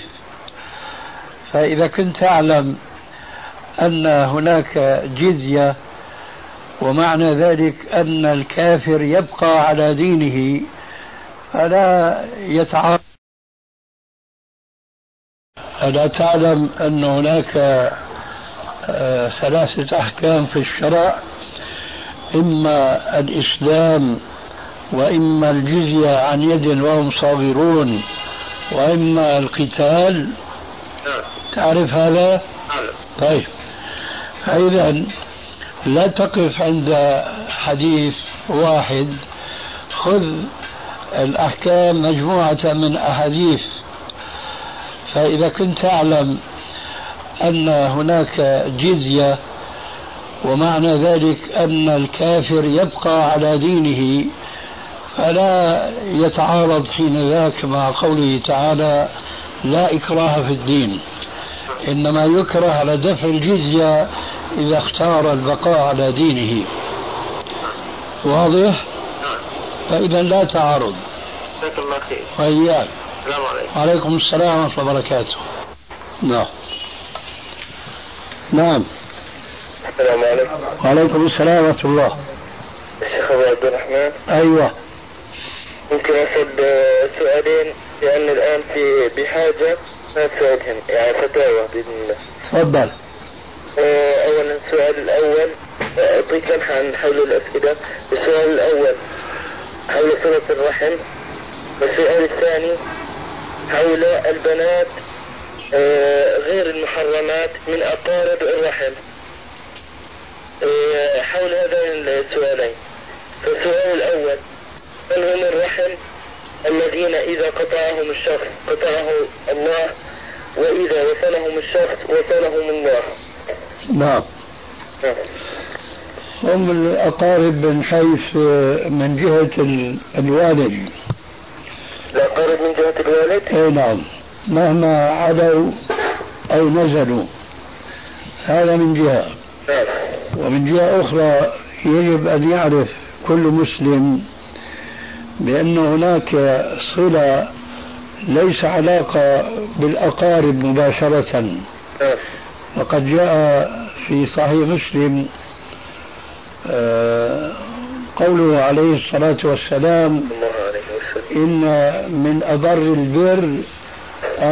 Speaker 2: فإذا كنت تعلم أن هناك جزية ومعنى ذلك أن الكافر يبقى على دينه فلا يتعارض ألا تعلم أن هناك آه، ثلاثة أحكام في الشرع إما الإسلام وإما الجزية عن يد وهم صاغرون وإما القتال تعرف هذا؟ طيب فإذا لا تقف عند حديث واحد خذ الأحكام مجموعة من أحاديث فإذا كنت تعلم أن هناك جزية ومعنى ذلك أن الكافر يبقى على دينه فلا يتعارض حين ذاك مع قوله تعالى لا إكراه في الدين إنما يكره على دفع الجزية إذا اختار البقاء على دينه
Speaker 3: آه.
Speaker 2: واضح؟ فإذا لا تعارض
Speaker 8: نعم. جزاك الله خير
Speaker 2: وإياك
Speaker 8: السلام عليكم
Speaker 2: وعليكم السلام ورحمة الله وبركاته نعم نعم
Speaker 8: السلام عليكم
Speaker 2: وعليكم السلام ورحمة الله
Speaker 8: الشيخ أبو عبد الرحمن
Speaker 2: أيوة
Speaker 8: ممكن أسأل آه، سؤالين لأن الآن في بحاجة ما أسألهم يعني فتاوى بإذن الله
Speaker 2: تفضل
Speaker 8: آه، أولا السؤال الأول آه، أعطيك شرح عن حول الأسئلة السؤال الأول حول صلة الرحم والسؤال الثاني حول البنات آه، غير المحرمات من أقارب الرحم آه، حول هذين السؤالين فالسؤال الأول من هم الرحم الذين إذا قطعهم الشخص قطعه الله وإذا وصلهم الشخص وصلهم الله
Speaker 2: نعم هم الأقارب من حيث من جهة ال- الوالد
Speaker 8: لا
Speaker 2: طيب.
Speaker 8: قرب من جهة الوالد
Speaker 2: أي نعم مهما علوا أو نزلوا هذا من جهة
Speaker 8: نعم
Speaker 2: ومن جهة أخرى يجب أن يعرف كل مسلم بأن هناك صلة ليس علاقة بالأقارب مباشرة
Speaker 8: نعم
Speaker 2: وقد جاء في صحيح مسلم آه، قوله عليه الصلاة والسلام
Speaker 8: الله عليه وسلم
Speaker 2: إن من أبر البر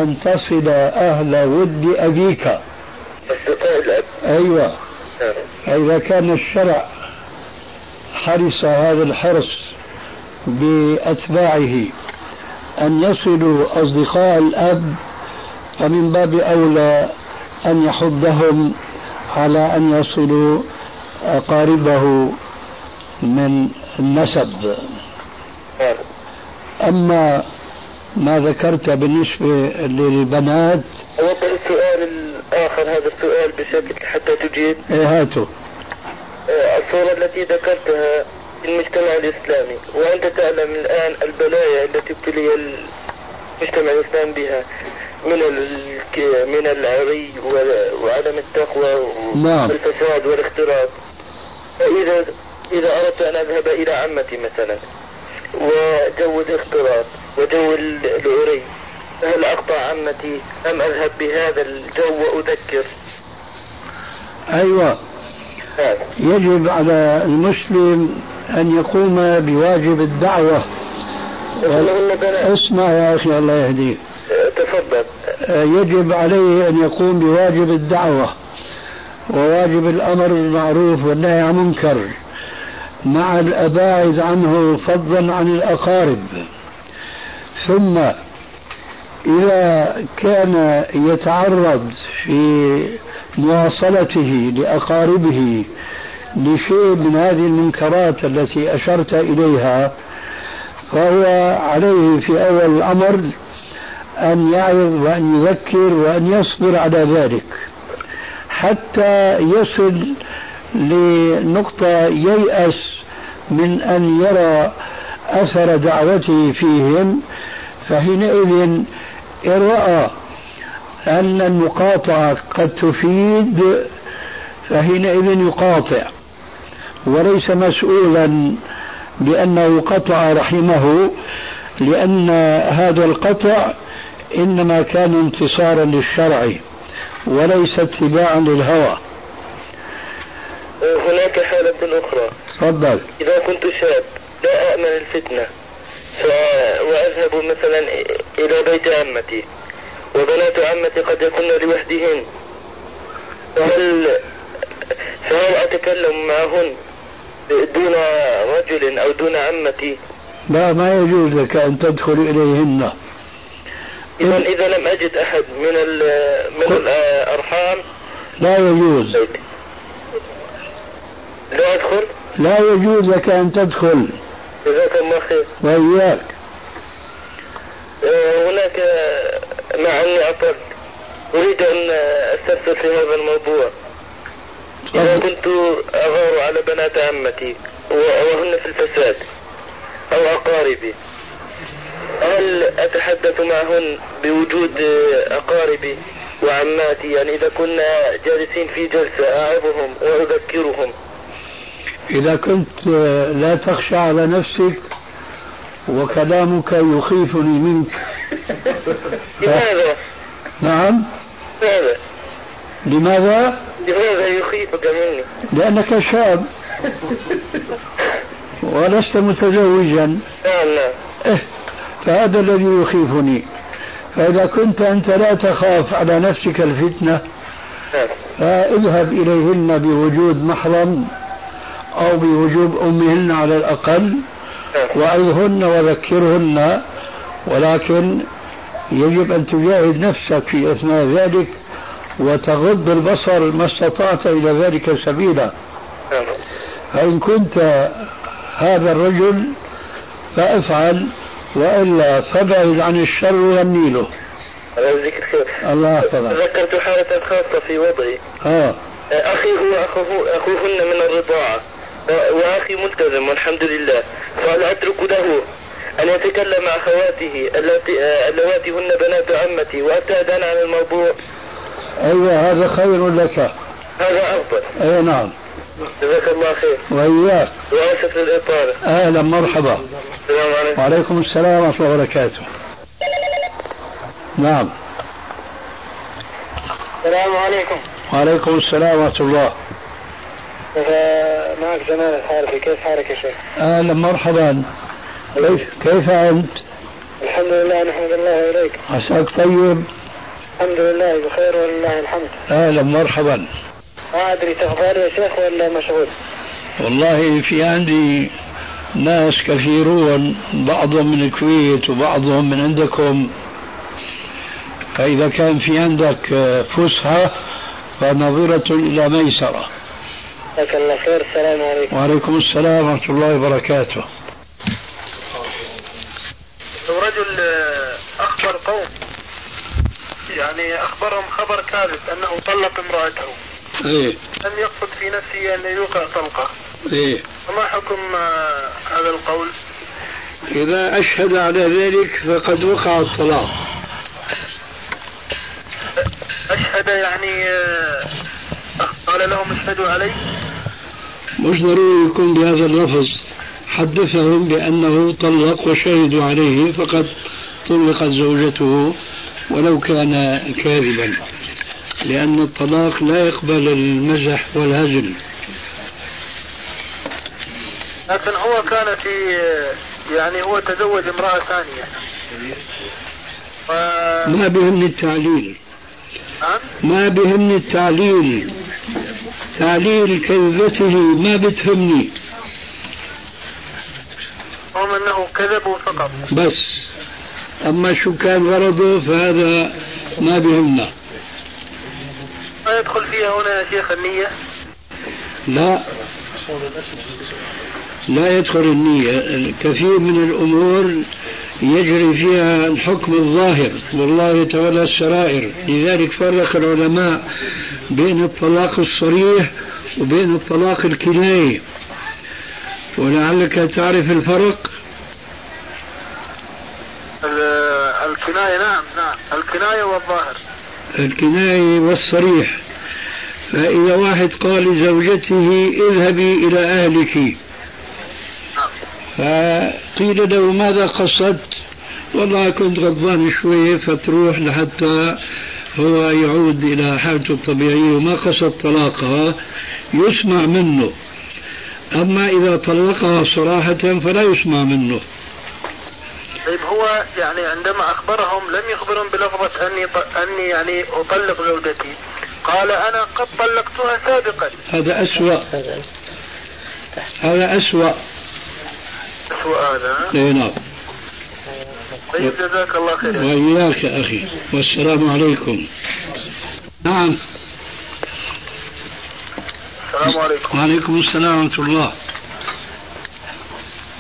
Speaker 2: أن تصل أهل ود أبيك
Speaker 8: أصدقاء الأب
Speaker 2: أيوة
Speaker 8: نعم
Speaker 2: فإذا كان الشرع حرص هذا الحرص بأتباعه أن يصلوا أصدقاء الأب فمن باب أولى أن يحضهم على أن يصلوا أقاربه من النسب
Speaker 8: نعم
Speaker 2: أما ما ذكرت بالنسبة للبنات
Speaker 8: أوضح السؤال الآخر هذا السؤال بشكل حتى تجيب
Speaker 2: إيه هاتوا
Speaker 8: آه، الصورة التي ذكرتها في المجتمع الإسلامي وأنت تعلم الآن البلايا التي ابتلي المجتمع الإسلامي بها من ال- ك- من العري وال- وعدم التقوى و-
Speaker 2: نعم.
Speaker 8: والفساد والاختلاط فإذا إذا أردت أن أذهب إلى عمتي مثلا وجو الاختلاط وجو ال- العري هل أقطع عمتي أم أذهب بهذا الجو وأذكر؟
Speaker 2: أيوة
Speaker 8: هذا
Speaker 2: يجب على المسلم أن يقوم بواجب الدعوة طيب.
Speaker 5: نعم.
Speaker 8: اللهم بلى.
Speaker 2: اسمع يا أخي الله يهديك
Speaker 8: آه، تفضل
Speaker 2: آه، يجب عليه أن يقوم بواجب الدعوة وواجب الأمر بالمعروف والنهي عن المنكر مع الأباعد عنه فضلا عن الأقارب ثم إذا كان يتعرض في مواصلته لأقاربه لشيء من هذه المنكرات التي أشرت إليها فهو عليه في أول الأمر أن يعظ وأن يذكر وأن يصبر على ذلك حتى يصل لنقطة ييأس من أن يرى أثر دعوته فيهم فحينئذ إن رأى أن المقاطعة قد تفيد فحينئذ يقاطع وليس مسؤولا بأنه قطع رحمه لأن هذا القطع إنما كان انتصارا للشرع وليس اتباعا للهوى
Speaker 8: هناك حالة أخرى
Speaker 2: تفضل
Speaker 8: إذا كنت شاب لا أأمن الفتنة ف... وأذهب مثلا إلى بيت عمتي وبنات عمتي قد يكن لوحدهن فهل فهل أتكلم معهن دون رجل أو دون عمتي
Speaker 2: لا ما يجوز لك أن تدخل إليهن
Speaker 8: إذا إذا لم أجد أحد من ال... من الأرحام
Speaker 2: لا يجوز
Speaker 8: لا أدخل
Speaker 2: لا يجوز لك أن تدخل
Speaker 8: جزاك الله خير
Speaker 2: وإياك
Speaker 8: آه، هناك آه، مع أني أطلت أريد أن آه، أستفسر في هذا الموضوع إذا
Speaker 2: تفضل.
Speaker 8: كنت أغار على بنات عمتي و- وهن في الفساد أو أقاربي هل أتحدث معهن بوجود آه، أقاربي وعماتي يعني إذا كنا جالسين في جلسة أعظهم وأذكرهم
Speaker 2: إذا كنت آه، لا تخشى على نفسك وكلامك يخيفني منك
Speaker 8: لماذا؟
Speaker 2: نعم
Speaker 8: لماذا؟
Speaker 2: لماذا؟
Speaker 8: لماذا يخيفك مني؟
Speaker 2: لأنك شاب ولست متزوجا
Speaker 8: نعم نعم
Speaker 2: إيه فهذا الذي يخيفني فإذا كنت أنت لا تخاف على نفسك الفتنة
Speaker 8: نعم
Speaker 2: فاذهب إليهن بوجود محرم أو بوجوب أمهن على الأقل
Speaker 8: نعم
Speaker 2: وعظهن وذكرهن ولكن يجب أن تجاهد نفسك في أثناء ذلك وتغض البصر ما استطعت إلى ذلك سبيلا
Speaker 8: نعم
Speaker 2: فإن كنت هذا الرجل فافعل وإلا فابعد عن الشر والنيله
Speaker 8: على ذكر خير
Speaker 2: الله يحفظك
Speaker 8: ذكرت حالة خاصة في وضعي
Speaker 2: آه.
Speaker 8: أخي هو أخوه أخوهن من الرضاعة أه، وأخي ملتزم والحمد لله فهل أترك له أن يتكلم مع أخواته التي أه، اللواتي هن بنات عمتي وأبتعد أنا عن الموضوع
Speaker 2: أيوة هذا خير لك
Speaker 8: هذا أفضل
Speaker 2: أي نعم
Speaker 8: جزاك الله خير
Speaker 2: وإياك
Speaker 8: وأسف للإطالة
Speaker 2: أهلا مرحبا
Speaker 8: السلام عليكم
Speaker 2: وعليكم السلام ورحمة الله وبركاته نعم
Speaker 5: السلام عليكم
Speaker 2: وعليكم السلام ورحمة الله
Speaker 5: معك جمال الحارثي كيف حالك يا شيخ؟
Speaker 2: أهلا مرحبا كيف كيف أنت؟
Speaker 5: الحمد لله نحمد الله إليك
Speaker 2: عساك طيب
Speaker 5: الحمد لله بخير ولله الحمد
Speaker 2: أهلا مرحبا
Speaker 5: ما أدري تخبر يا شيخ ولا مشغول؟
Speaker 2: والله في عندي ناس كثيرون بعضهم من الكويت وبعضهم من عندكم فإذا كان في عندك آه، فسحة فنظرة إلى ميسرة
Speaker 5: جزاك الله خير السلام عليكم
Speaker 2: وعليكم السلام ورحمة الله وبركاته
Speaker 5: لو رجل آه، أخبر قوم يعني أخبرهم خبر كاذب أنه طلق امرأته
Speaker 2: إيه
Speaker 5: لم يقصد في نفسه أن يوقع طلقة
Speaker 2: إيه
Speaker 5: فما حكم آه، هذا القول؟
Speaker 2: إذا أشهد على ذلك فقد وقع الطلاق
Speaker 5: أشهد يعني آه، قال لهم اشهدوا علي
Speaker 2: مش ضروري يكون بهذا اللفظ حدثهم بأنه طلق وشهدوا عليه فقد طلقت زوجته ولو كان كاذبا لأن الطلاق لا يقبل المزح والهزل
Speaker 5: لكن هو كان في يعني هو تزوج امرأة ثانية ف...
Speaker 2: ما بهمني التعليل
Speaker 5: نعم
Speaker 2: ما بهمني التعليل تعليل كذبته ما بتهمني
Speaker 5: هم انه كذبوا فقط
Speaker 2: بس أما شو كان غرضه فهذا ما بهمنا
Speaker 5: ما يدخل فيها هنا يا شيخ النية
Speaker 2: لا لا يدخل النية الكثير من الأمور يجري فيها الحكم الظاهر والله يتولى السرائر لذلك فرق العلماء بين الطلاق الصريح وبين الطلاق الكناية ولعلك تعرف الفرق
Speaker 5: ال- الكناية نعم نعم الكناية والظاهر
Speaker 2: الكناية والصريح فإذا واحد قال لزوجته اذهبي إلى أهلك
Speaker 5: نعم
Speaker 2: فقيل له ماذا قصدت والله كنت غضبان شوية فتروح لحتى هو يعود إلى حالته الطبيعية وما قصد طلاقها يسمع منه أما إذا طلقها صراحة فلا يسمع منه
Speaker 5: طيب هو يعني عندما اخبرهم لم يخبرهم بلفظه اني اني يعني اطلق زوجتي قال انا قد طلقتها سابقا
Speaker 2: هذا أسوأ هذا أسوأ
Speaker 5: اسوء هذا
Speaker 2: أي نعم
Speaker 5: طيب جزاك الله خيرا
Speaker 2: وإياك أخي والسلام عليكم نعم
Speaker 5: السلام عليكم
Speaker 2: وعليكم السلام ورحمة الله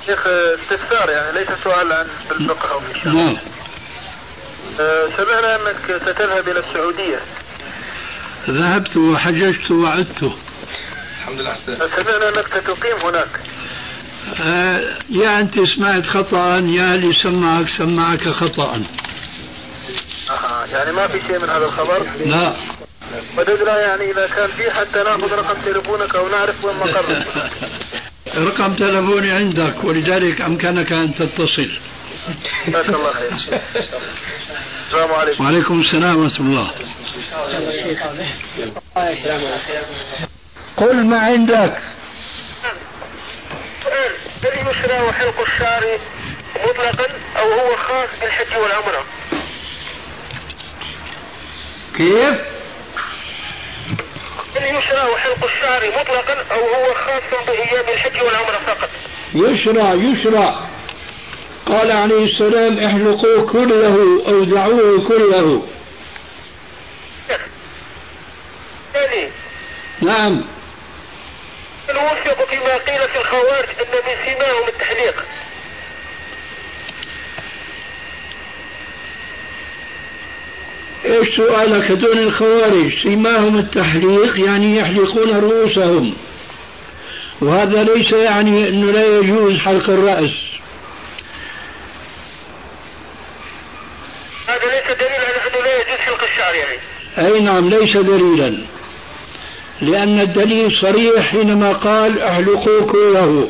Speaker 5: شيخ استفسار يعني ليس سؤال عن الفقه او في الشرع.
Speaker 2: نعم
Speaker 5: آه، سمعنا انك ستذهب الى السعوديه
Speaker 2: ذهبت وحججت وعدت
Speaker 9: الحمد لله على السلامة.
Speaker 5: سمعنا انك ستقيم هناك
Speaker 2: آه، يا أنت سمعت خطأ يا اللي سمعك سمعك خطأ
Speaker 5: آه يعني ما في شيء من هذا الخبر
Speaker 2: لا
Speaker 5: وددنا يعني اذا كان في حتى ناخذ رقم تليفونك او نعرف وين مقرك
Speaker 2: رقم تلفوني عندك ولذلك أمكنك أن تتصل
Speaker 5: جزاك الله خير السلام عليكم
Speaker 2: وعليكم السلام ورحمة الله قل ما عندك
Speaker 5: سؤال هل يشرع وحلق الشعر مطلقا او هو خاص بالحج والعمره؟
Speaker 2: كيف؟
Speaker 5: هل يشرع حلق الشعر مطلقا او هو خاص بايام الحج والعمره فقط؟
Speaker 2: يشرع يشرع قال عليه السلام احلقوه كله أو دعوه كله
Speaker 5: ثاني
Speaker 2: نعم
Speaker 5: هل وثق فيما قيل في الخوارج ان من سماهم التحليق؟
Speaker 2: ايش سؤالك دون الخوارج سيماهم التحليق يعني يحلقون رؤوسهم وهذا ليس يعني انه لا يجوز حلق الرأس
Speaker 5: هذا ليس دليل على انه لا يجوز حلق الشعر يعني.
Speaker 2: اي نعم ليس دليلا لان الدليل صريح حينما قال احلقوه كله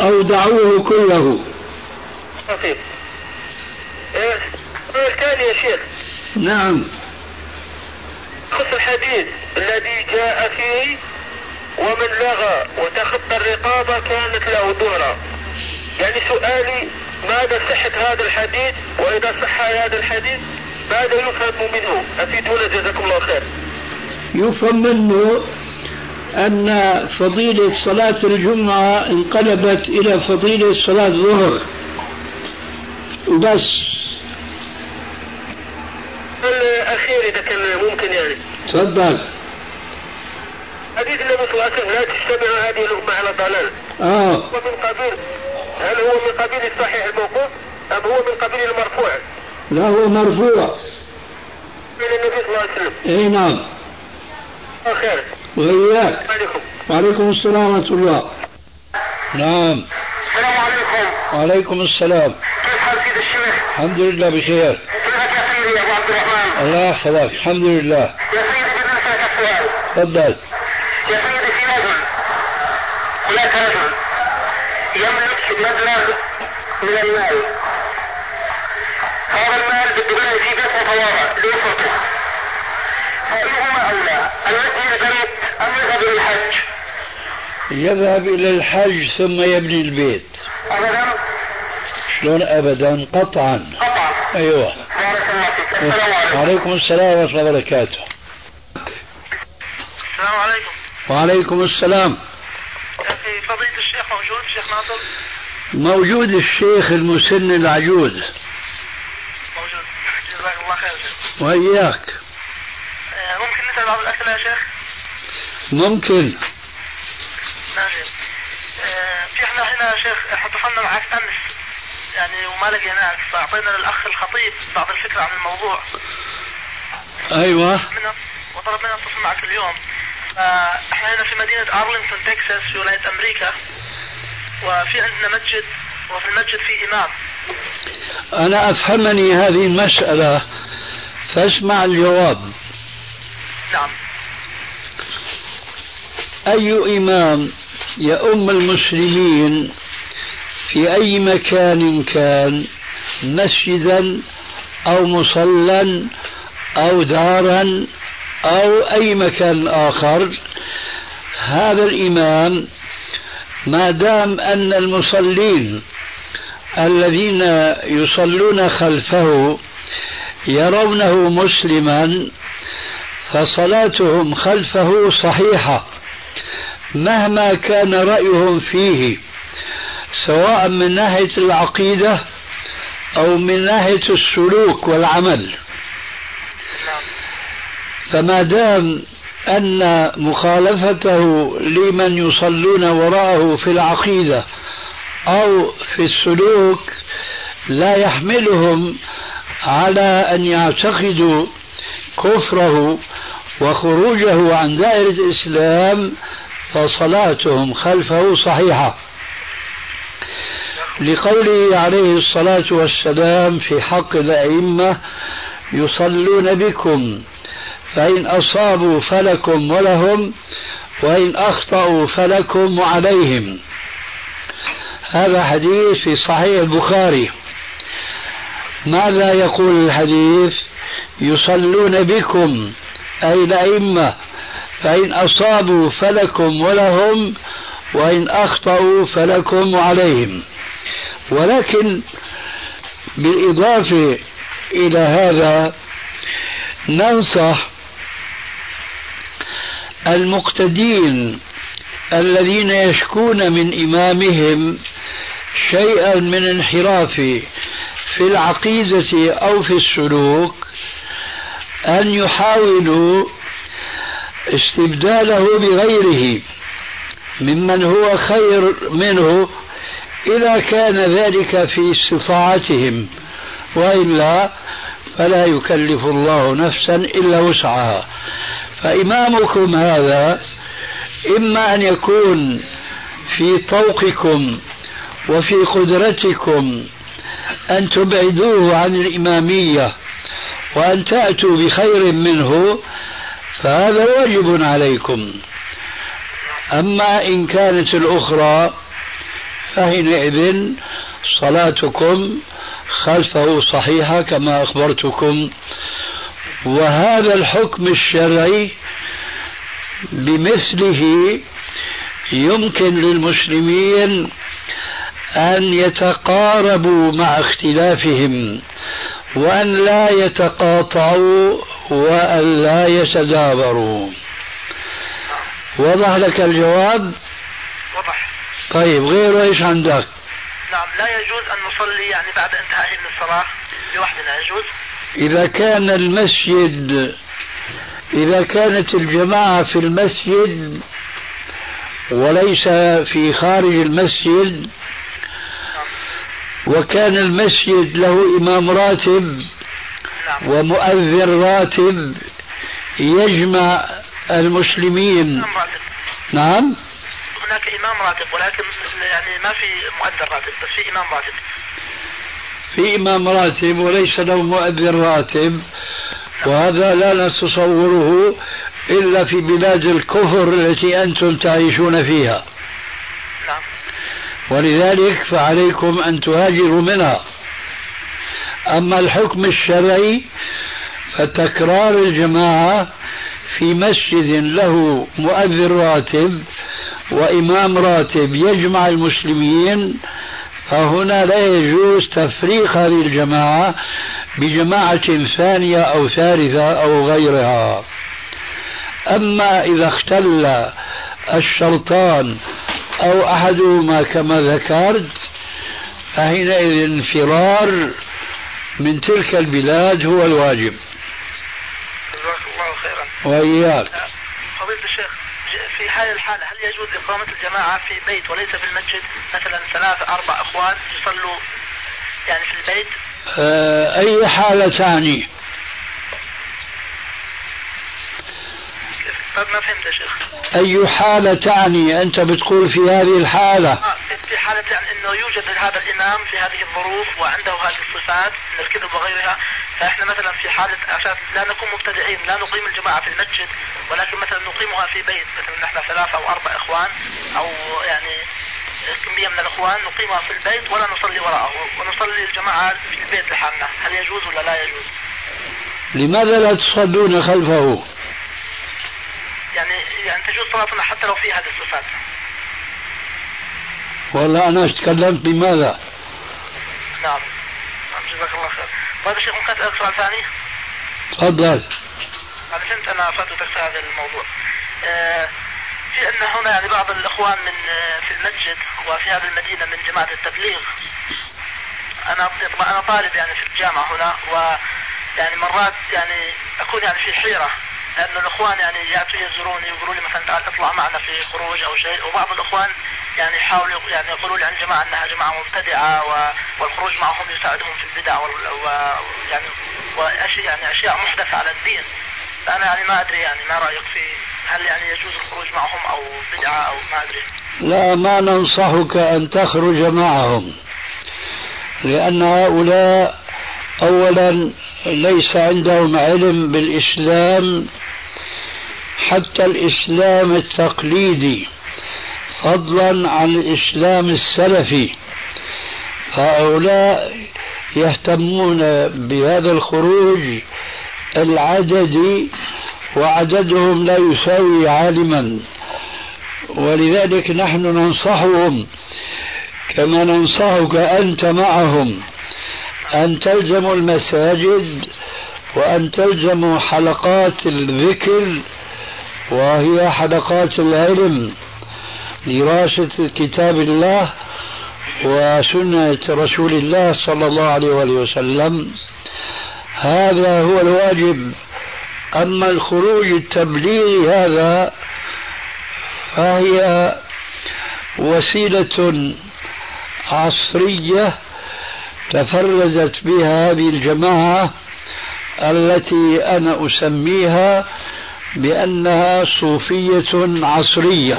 Speaker 2: او دعوه كله
Speaker 5: لطيف. إيه، السؤال الثاني يا شيخ
Speaker 2: نعم
Speaker 5: خص الحديث الذي جاء فيه ومن لغى وتخطى الرقابة كانت له ظهرا يعني سؤالي ماذا صحة هذا الحديث وإذا صح هذا الحديث ماذا يفهم منه أفيدونا جزاكم الله خير
Speaker 2: يفهم منه أن فضيلة صلاة الجمعة انقلبت إلى فضيلة صلاة الظهر بس
Speaker 5: الأخير إذا كان ممكن يعني
Speaker 2: تفضل
Speaker 5: حديث النبي صلى الله عليه وسلم لا تجتمع هذه الأمة على ضلال
Speaker 2: آه
Speaker 5: هو من قبيل هل هو من قبيل الصحيح الموقوف أم هو من قبيل المرفوع
Speaker 2: لا هو مرفوع
Speaker 5: من النبي صلى الله عليه وسلم
Speaker 2: أي نعم
Speaker 5: الله خير
Speaker 2: وإياك
Speaker 5: عليكم
Speaker 2: وعليكم السلام ورحمة الله نعم
Speaker 5: السلام عليكم
Speaker 2: وعليكم السلام
Speaker 5: كيف حال سيد الشيخ؟
Speaker 2: آه. الحمد لله بخير
Speaker 5: طلعت يا سيدي يا ابو عبد الرحمن
Speaker 2: الله يحفظك الحمد لله
Speaker 5: يا سيدي بدي اسالك السؤال
Speaker 2: تفضل
Speaker 5: يا سيدي في رجل هناك رجل يملك مبلغ من المال هذا المال بده بلا يجيب اسمه طوارئ ليسرته فأيهما أولى أن يبني البيت أم يذهب للحج؟
Speaker 2: يذهب إلى الحج ثم يبني البيت
Speaker 5: أبدا
Speaker 2: شلون أبدا قطعا
Speaker 5: قطعا
Speaker 2: أيوه
Speaker 5: بارك الله فيك السلام عليكم
Speaker 2: وعليكم السلام ورحمة الله وبركاته
Speaker 5: السلام عليكم
Speaker 2: وعليكم السلام
Speaker 5: يا أخي فضيلة الشيخ موجود شيخ ناصر
Speaker 2: موجود الشيخ المسن العجوز
Speaker 5: موجود جزاك الله خير شيخ
Speaker 2: وإياك
Speaker 5: آه، ممكن نسأل بعض الأسئلة يا شيخ؟
Speaker 2: ممكن
Speaker 5: نعم شيخ. آه، في احنا هنا يا شيخ حصلنا معك أمس يعني وما لقيناك فأعطينا للأخ الخطيب بعض الفكرة عن الموضوع
Speaker 2: أيوة
Speaker 5: منه وطلب منا نتصل معك اليوم فاحنا هنا في مدينة أرلينغتون تكساس في ولاية أمريكا وفي عندنا مسجد وفي المسجد في إمام
Speaker 2: أنا أفهمني هذه المسألة فاسمع الجواب
Speaker 5: نعم
Speaker 2: أي إمام يؤم المسلمين في أي مكان كان مسجدا أو مصلى أو دارا أو أي مكان آخر هذا الإمام ما دام أن المصلين الذين يصلون خلفه يرونه مسلما فصلاتهم خلفه صحيحه مهما كان رايهم فيه سواء من ناحيه العقيده او من ناحيه السلوك والعمل فما دام ان مخالفته لمن يصلون وراءه في العقيده أو في السلوك لا يحملهم على أن يعتقدوا كفره وخروجه عن دائرة الإسلام فصلاتهم خلفه صحيحة لقوله عليه الصلاة والسلام في حق الأئمة يصلون بكم فإن أصابوا فلكم ولهم وإن أخطأوا فلكم وعليهم هذا حديث في صحيح البخاري ماذا يقول الحديث يصلون بكم أي الأئمة فإن أصابوا فلكم ولهم وإن أخطأوا فلكم وعليهم ولكن بالإضافة إلى هذا ننصح المقتدين الذين يشكون من إمامهم شيئا من انحراف في العقيدة أو في السلوك أن يحاولوا استبداله بغيره ممن هو خير منه إذا كان ذلك في استطاعتهم وإلا فلا يكلف الله نفسا إلا وسعها فإمامكم هذا إما أن يكون في طوقكم وفي قدرتكم أن تبعدوه عن الإمامية وأن تأتوا بخير منه فهذا واجب عليكم أما إن كانت الأخرى فحينئذ صلاتكم خلفه صحيحة كما أخبرتكم وهذا الحكم الشرعي بمثله يمكن للمسلمين ان يتقاربوا مع اختلافهم وان لا يتقاطعوا وان لا يتدابروا وضح لك الجواب
Speaker 10: وضح
Speaker 2: طيب غيره ايش عندك
Speaker 10: نعم لا يجوز أن نصلي يعني بعد انتهاء من الصلاة لوحدنا يجوز
Speaker 2: اذا كان المسجد إذا كانت الجماعة في المسجد وليس في خارج المسجد وكان المسجد له إمام راتب نعم. ومؤذن راتب يجمع المسلمين
Speaker 10: إمام راتب
Speaker 2: نعم
Speaker 10: هناك إمام راتب ولكن يعني ما في مؤذن راتب بس في إمام راتب
Speaker 2: في إمام راتب وليس له مؤذن راتب وهذا لا نتصوره إلا في بلاد الكفر التي أنتم تعيشون فيها
Speaker 10: نعم
Speaker 2: ولذلك فعليكم أن تهاجروا منها أما الحكم الشرعي فتكرار الجماعة في مسجد له مؤذن راتب وإمام راتب يجمع المسلمين فهنا لا يجوز تفريق هذه الجماعة بجماعة ثانية أو ثالثة أو غيرها أما إذا اختل الشرطان أو أحدهما كما ذكرت فحينئذ فرار من تلك البلاد هو الواجب
Speaker 10: جزاك الله خيرا
Speaker 2: وإياك
Speaker 10: آه، فضيلة الشيخ ج- في هذه الحالة هل يجوز إقامة الجماعة في بيت وليس في المسجد مثلا ثلاثة أربع أخوان يصلوا يعني في البيت
Speaker 2: آه، أي حالة تعني
Speaker 10: ما ما فهمت يا شيخ
Speaker 2: أي حالة تعني أنت بتقول في هذه الحالة
Speaker 10: آه، في حالة يعني أنه يوجد هذا الإمام في هذه الظروف وعنده هذه الصفات من الكذب وغيرها فإحنا مثلا في حالة عشان لا نكون مبتدئين لا نقيم الجماعة في المسجد ولكن مثلا نقيمها في بيت مثلا نحن ثلاثة أو أربع إخوان أو يعني كمية من الإخوان نقيمها في البيت ولا نصلي وراءه ونصلي الجماعة في البيت لحالنا هل يجوز ولا لا يجوز
Speaker 2: لماذا لا تصلون خلفه؟
Speaker 10: يعني يعني تجوز صلاتنا حتى لو في هذه الصفات
Speaker 2: والله أنا تكلمت لماذا؟
Speaker 10: نعم نعم، جزاك الله خير طيب يا شيخ ممكن أسألك سؤال ثاني
Speaker 2: تفضل
Speaker 10: أنا فهمت أنا فاتتك في هذا الموضوع آه، في أن هنا يعني بعض الإخوان من آه، في المسجد وفي هذه المدينة من جماعة التبليغ أنا طبعا أنا طالب يعني في الجامعة هنا و يعني مرات يعني أكون يعني في حيرة لأن الإخوان يعني يأتوا يزوروني يقولوا لي مثلا تعال اطلع معنا في خروج أو شيء وبعض الإخوان يعني يحاولوا يعني يقولوا لي عن الجماعة أنها جماعة مبتدعة و... والخروج معهم يساعدهم في البدع وال... و... يعني وأشياء يعني أشياء محدثة على الدين فأنا يعني ما أدري يعني ما رأيك في هل يعني يجوز الخروج معهم أو بدعة أو ما أدري
Speaker 2: لا ما ننصحك أن تخرج معهم لأن هؤلاء أولا ليس عندهم علم بالإسلام حتى الإسلام التقليدي فضلا عن الإسلام السلفي هؤلاء يهتمون بهذا الخروج العددي وعددهم لا يساوي عالما ولذلك نحن ننصحهم كما ننصحك أنت معهم أن تلزموا المساجد وأن تلزموا حلقات الذكر وهي حلقات العلم دراسة كتاب الله وسنة رسول الله صلى الله عليه وآله وسلم هذا هو الواجب أما الخروج التبليغي هذا فهي وسيلة عصرية تفرزت بها هذه الجماعة التي أنا أسميها بأنها صوفية عصرية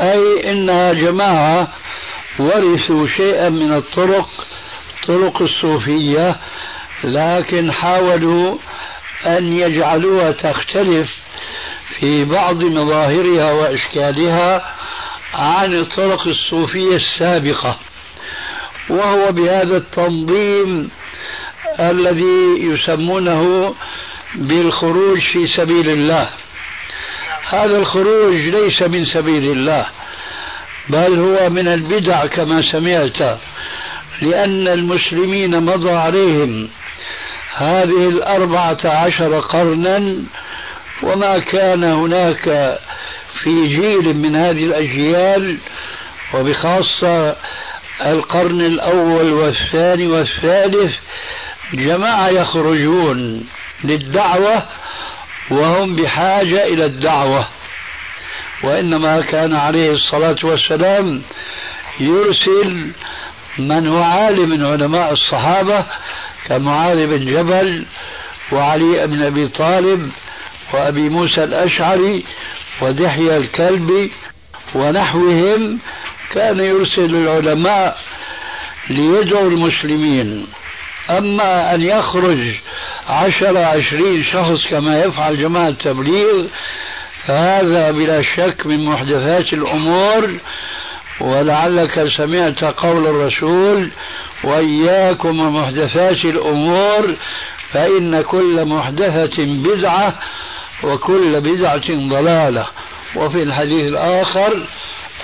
Speaker 2: أي إنها جماعة ورثوا شيئا من الطرق طرق الصوفية لكن حاولوا أن يجعلوها تختلف في بعض مظاهرها وإشكالها عن الطرق الصوفية السابقة وهو بهذا التنظيم الذي يسمونه بالخروج في سبيل الله هذا الخروج ليس من سبيل الله بل هو من البدع كما سمعت لأن المسلمين مضى عليهم هذه الأربعة عشر قرنا وما كان هناك في جيل من هذه الأجيال وبخاصة القرن الأول والثاني والثالث جماعة يخرجون للدعوة وهم بحاجة إلى الدعوة وإنما كان عليه الصلاة والسلام يرسل من هو عالم من علماء الصحابة كمعاذ بن جبل وعلي بن أبي طالب وأبي موسى الأشعري ودحية الكلبي ونحوهم كان يرسل العلماء ليدعوا المسلمين أما أن يخرج عشر عشرين شخص كما يفعل جماعة التبليغ فهذا بلا شك من محدثات الأمور ولعلك سمعت قول الرسول وإياكم ومحدثات الأمور فإن كل محدثة بدعة وكل بدعة ضلالة وفي الحديث الآخر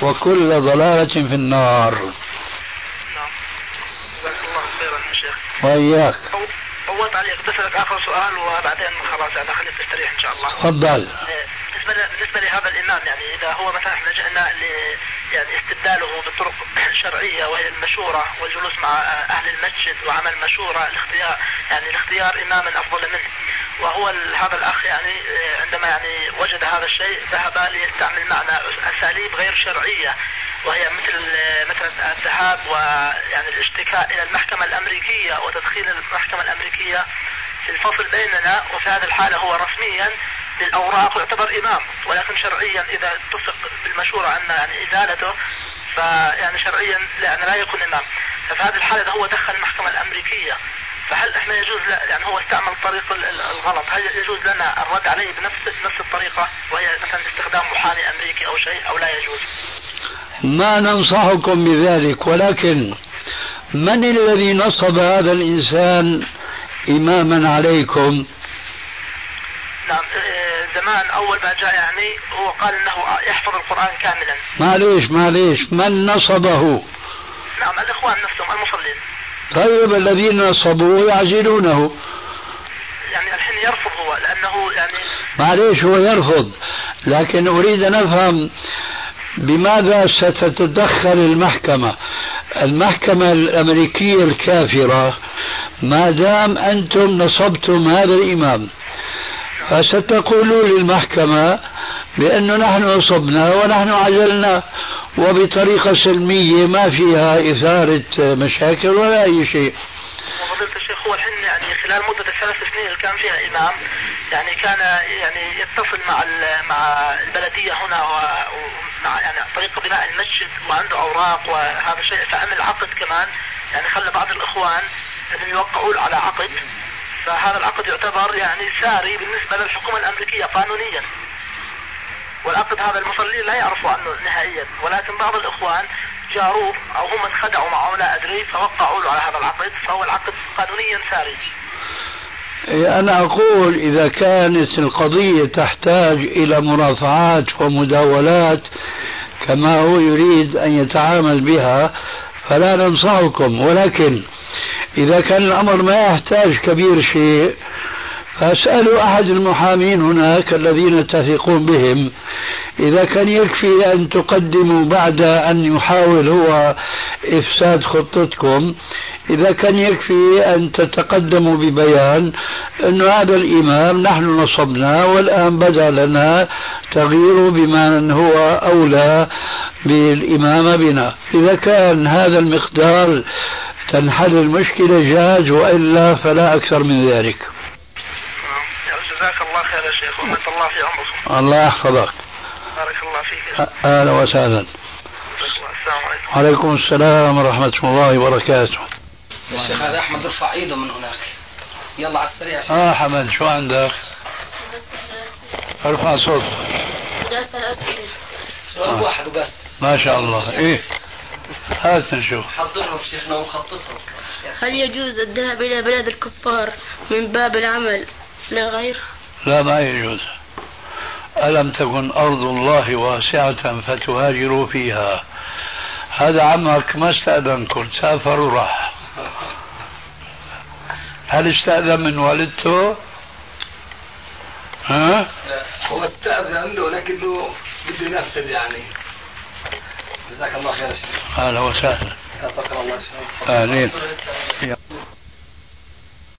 Speaker 2: وكل ضلالة في النار
Speaker 10: نعم جزاك الله خيرا يا شيخ
Speaker 2: وإياك
Speaker 10: أو- أول تعليق بسألك آخر سؤال وبعدين خلاص يعني خليك تستريح إن شاء الله
Speaker 2: تفضل
Speaker 10: بالنسبة ل- بالنسبة لهذا الإمام يعني إذا هو مثلا احنا جئنا ل يعني استبداله بطرق شرعية وهي المشورة والجلوس مع آه، أهل المسجد وعمل مشورة لاختيار يعني لاختيار إمام أفضل منه وهو ال- هذا الأخ يعني آه، عندما يعني وجد هذا الشيء ذهب ليستعمل معنا أس- أساليب غير شرعية وهي مثل آه، مثلا الذهاب ويعني الاشتكاء إلى المحكمة الأمريكية وتدخيل المحكمة الأمريكية في الفصل بيننا وفي هذه الحالة هو رسميا بالأوراق يعتبر إمام ولكن شرعيا إذا اتفق بالمشورة عن يعني إزالته فيعني شرعيا لا لا يكون إمام ففي هذه الحالة إذا هو دخل المحكمة الأمريكية فهل احنا يجوز لا يعني هو استعمل الطريق ال- ال- الغلط هل يجوز لنا الرد عليه بنفس نفس الطريقة وهي مثلا استخدام محامي أمريكي أو شيء أو لا يجوز؟
Speaker 2: ما ننصحكم بذلك ولكن من الذي نصب هذا الإنسان إماما عليكم
Speaker 10: نعم آه، زمان اول ما جاء يعني هو قال انه يحفظ القران كاملا
Speaker 2: معليش معليش من نصبه
Speaker 10: نعم الاخوان نفسهم المصلين
Speaker 2: طيب الذين نصبوه يعزلونه
Speaker 10: يعني الحين يرفض هو لانه يعني
Speaker 2: معليش هو يرفض لكن أريد أن أفهم بماذا ستتدخل المحكمة المحكمة الأمريكية الكافرة ما دام أنتم نصبتم هذا الإمام فستقولوا للمحكمة بأنه نحن نصبنا ونحن عزلنا وبطريقة سلمية ما فيها إثارة مشاكل ولا أي شيء
Speaker 10: وفضيلة الشيخ هو الحين يعني خلال مدة الثلاث سنين اللي كان فيها إمام يعني كان يعني يتصل مع ال- مع البلدية هنا و- ومع يعني طريقة بناء المسجد وعنده أوراق وهذا الشيء فعمل عقد كمان يعني خلى بعض الإخوان أنهم يوقعوا له على عقد فهذا العقد يعتبر يعني ساري بالنسبة للحكومة الأمريكية قانونيا والعقد هذا المصلين لا يعرفوا عنه نهائيا ولكن بعض الاخوان جاروه او هم انخدعوا معه لا ادري فوقعوا له على هذا العقد فهو العقد قانونيا ساري.
Speaker 2: إيه، أنا أقول إذا كانت القضية تحتاج إلى مرافعات ومداولات كما هو يريد أن يتعامل بها فلا ننصحكم ولكن إذا كان الأمر ما يحتاج كبير شيء فاسألوا أحد المحامين هناك الذين تثقون بهم إذا كان يكفي أن تقدموا بعد أن يحاول هو إفساد خطتكم إذا كان يكفي أن تتقدموا ببيان أن هذا الإمام نحن نصبناه والآن بدا لنا تغييره بمن هو أولى بالإمامة بنا إذا كان هذا المقدار تنحل المشكلة جاز وإلا فلا أكثر من ذلك
Speaker 10: يعني جزاك الله خير يا شيخ ومت الله في عمركم
Speaker 2: الله يحفظك
Speaker 10: بارك الله فيك يا شيخ.
Speaker 2: أهلا وسهلا
Speaker 10: جزاك الله. السلام عليكم.
Speaker 2: وعليكم السلام ورحمة الله وبركاته
Speaker 1: الشيخ هذا احمد ارفع ايده من هناك يلا على السريع شيخ.
Speaker 2: آه حمد شو عندك ارفع صوتك
Speaker 1: سؤال واحد وبس
Speaker 2: آه. ما شاء الله ايه هات نشوف
Speaker 1: حضرهم شيخنا ومخططهم
Speaker 11: هل يجوز الذهاب إلى بلاد الكفار من باب العمل لا غير؟
Speaker 2: لا ما يجوز ألم تكن أرض الله واسعة فتهاجروا فيها هذا عمك ما استأذن كل سافر وراح هل استأذن من والدته؟ ها؟
Speaker 9: هو استأذن له لكنه بده ينفذ يعني جزاك الله خير يا شيخ
Speaker 2: أهلا وسهلا
Speaker 9: يعطيك الله الشيخ
Speaker 2: أهلين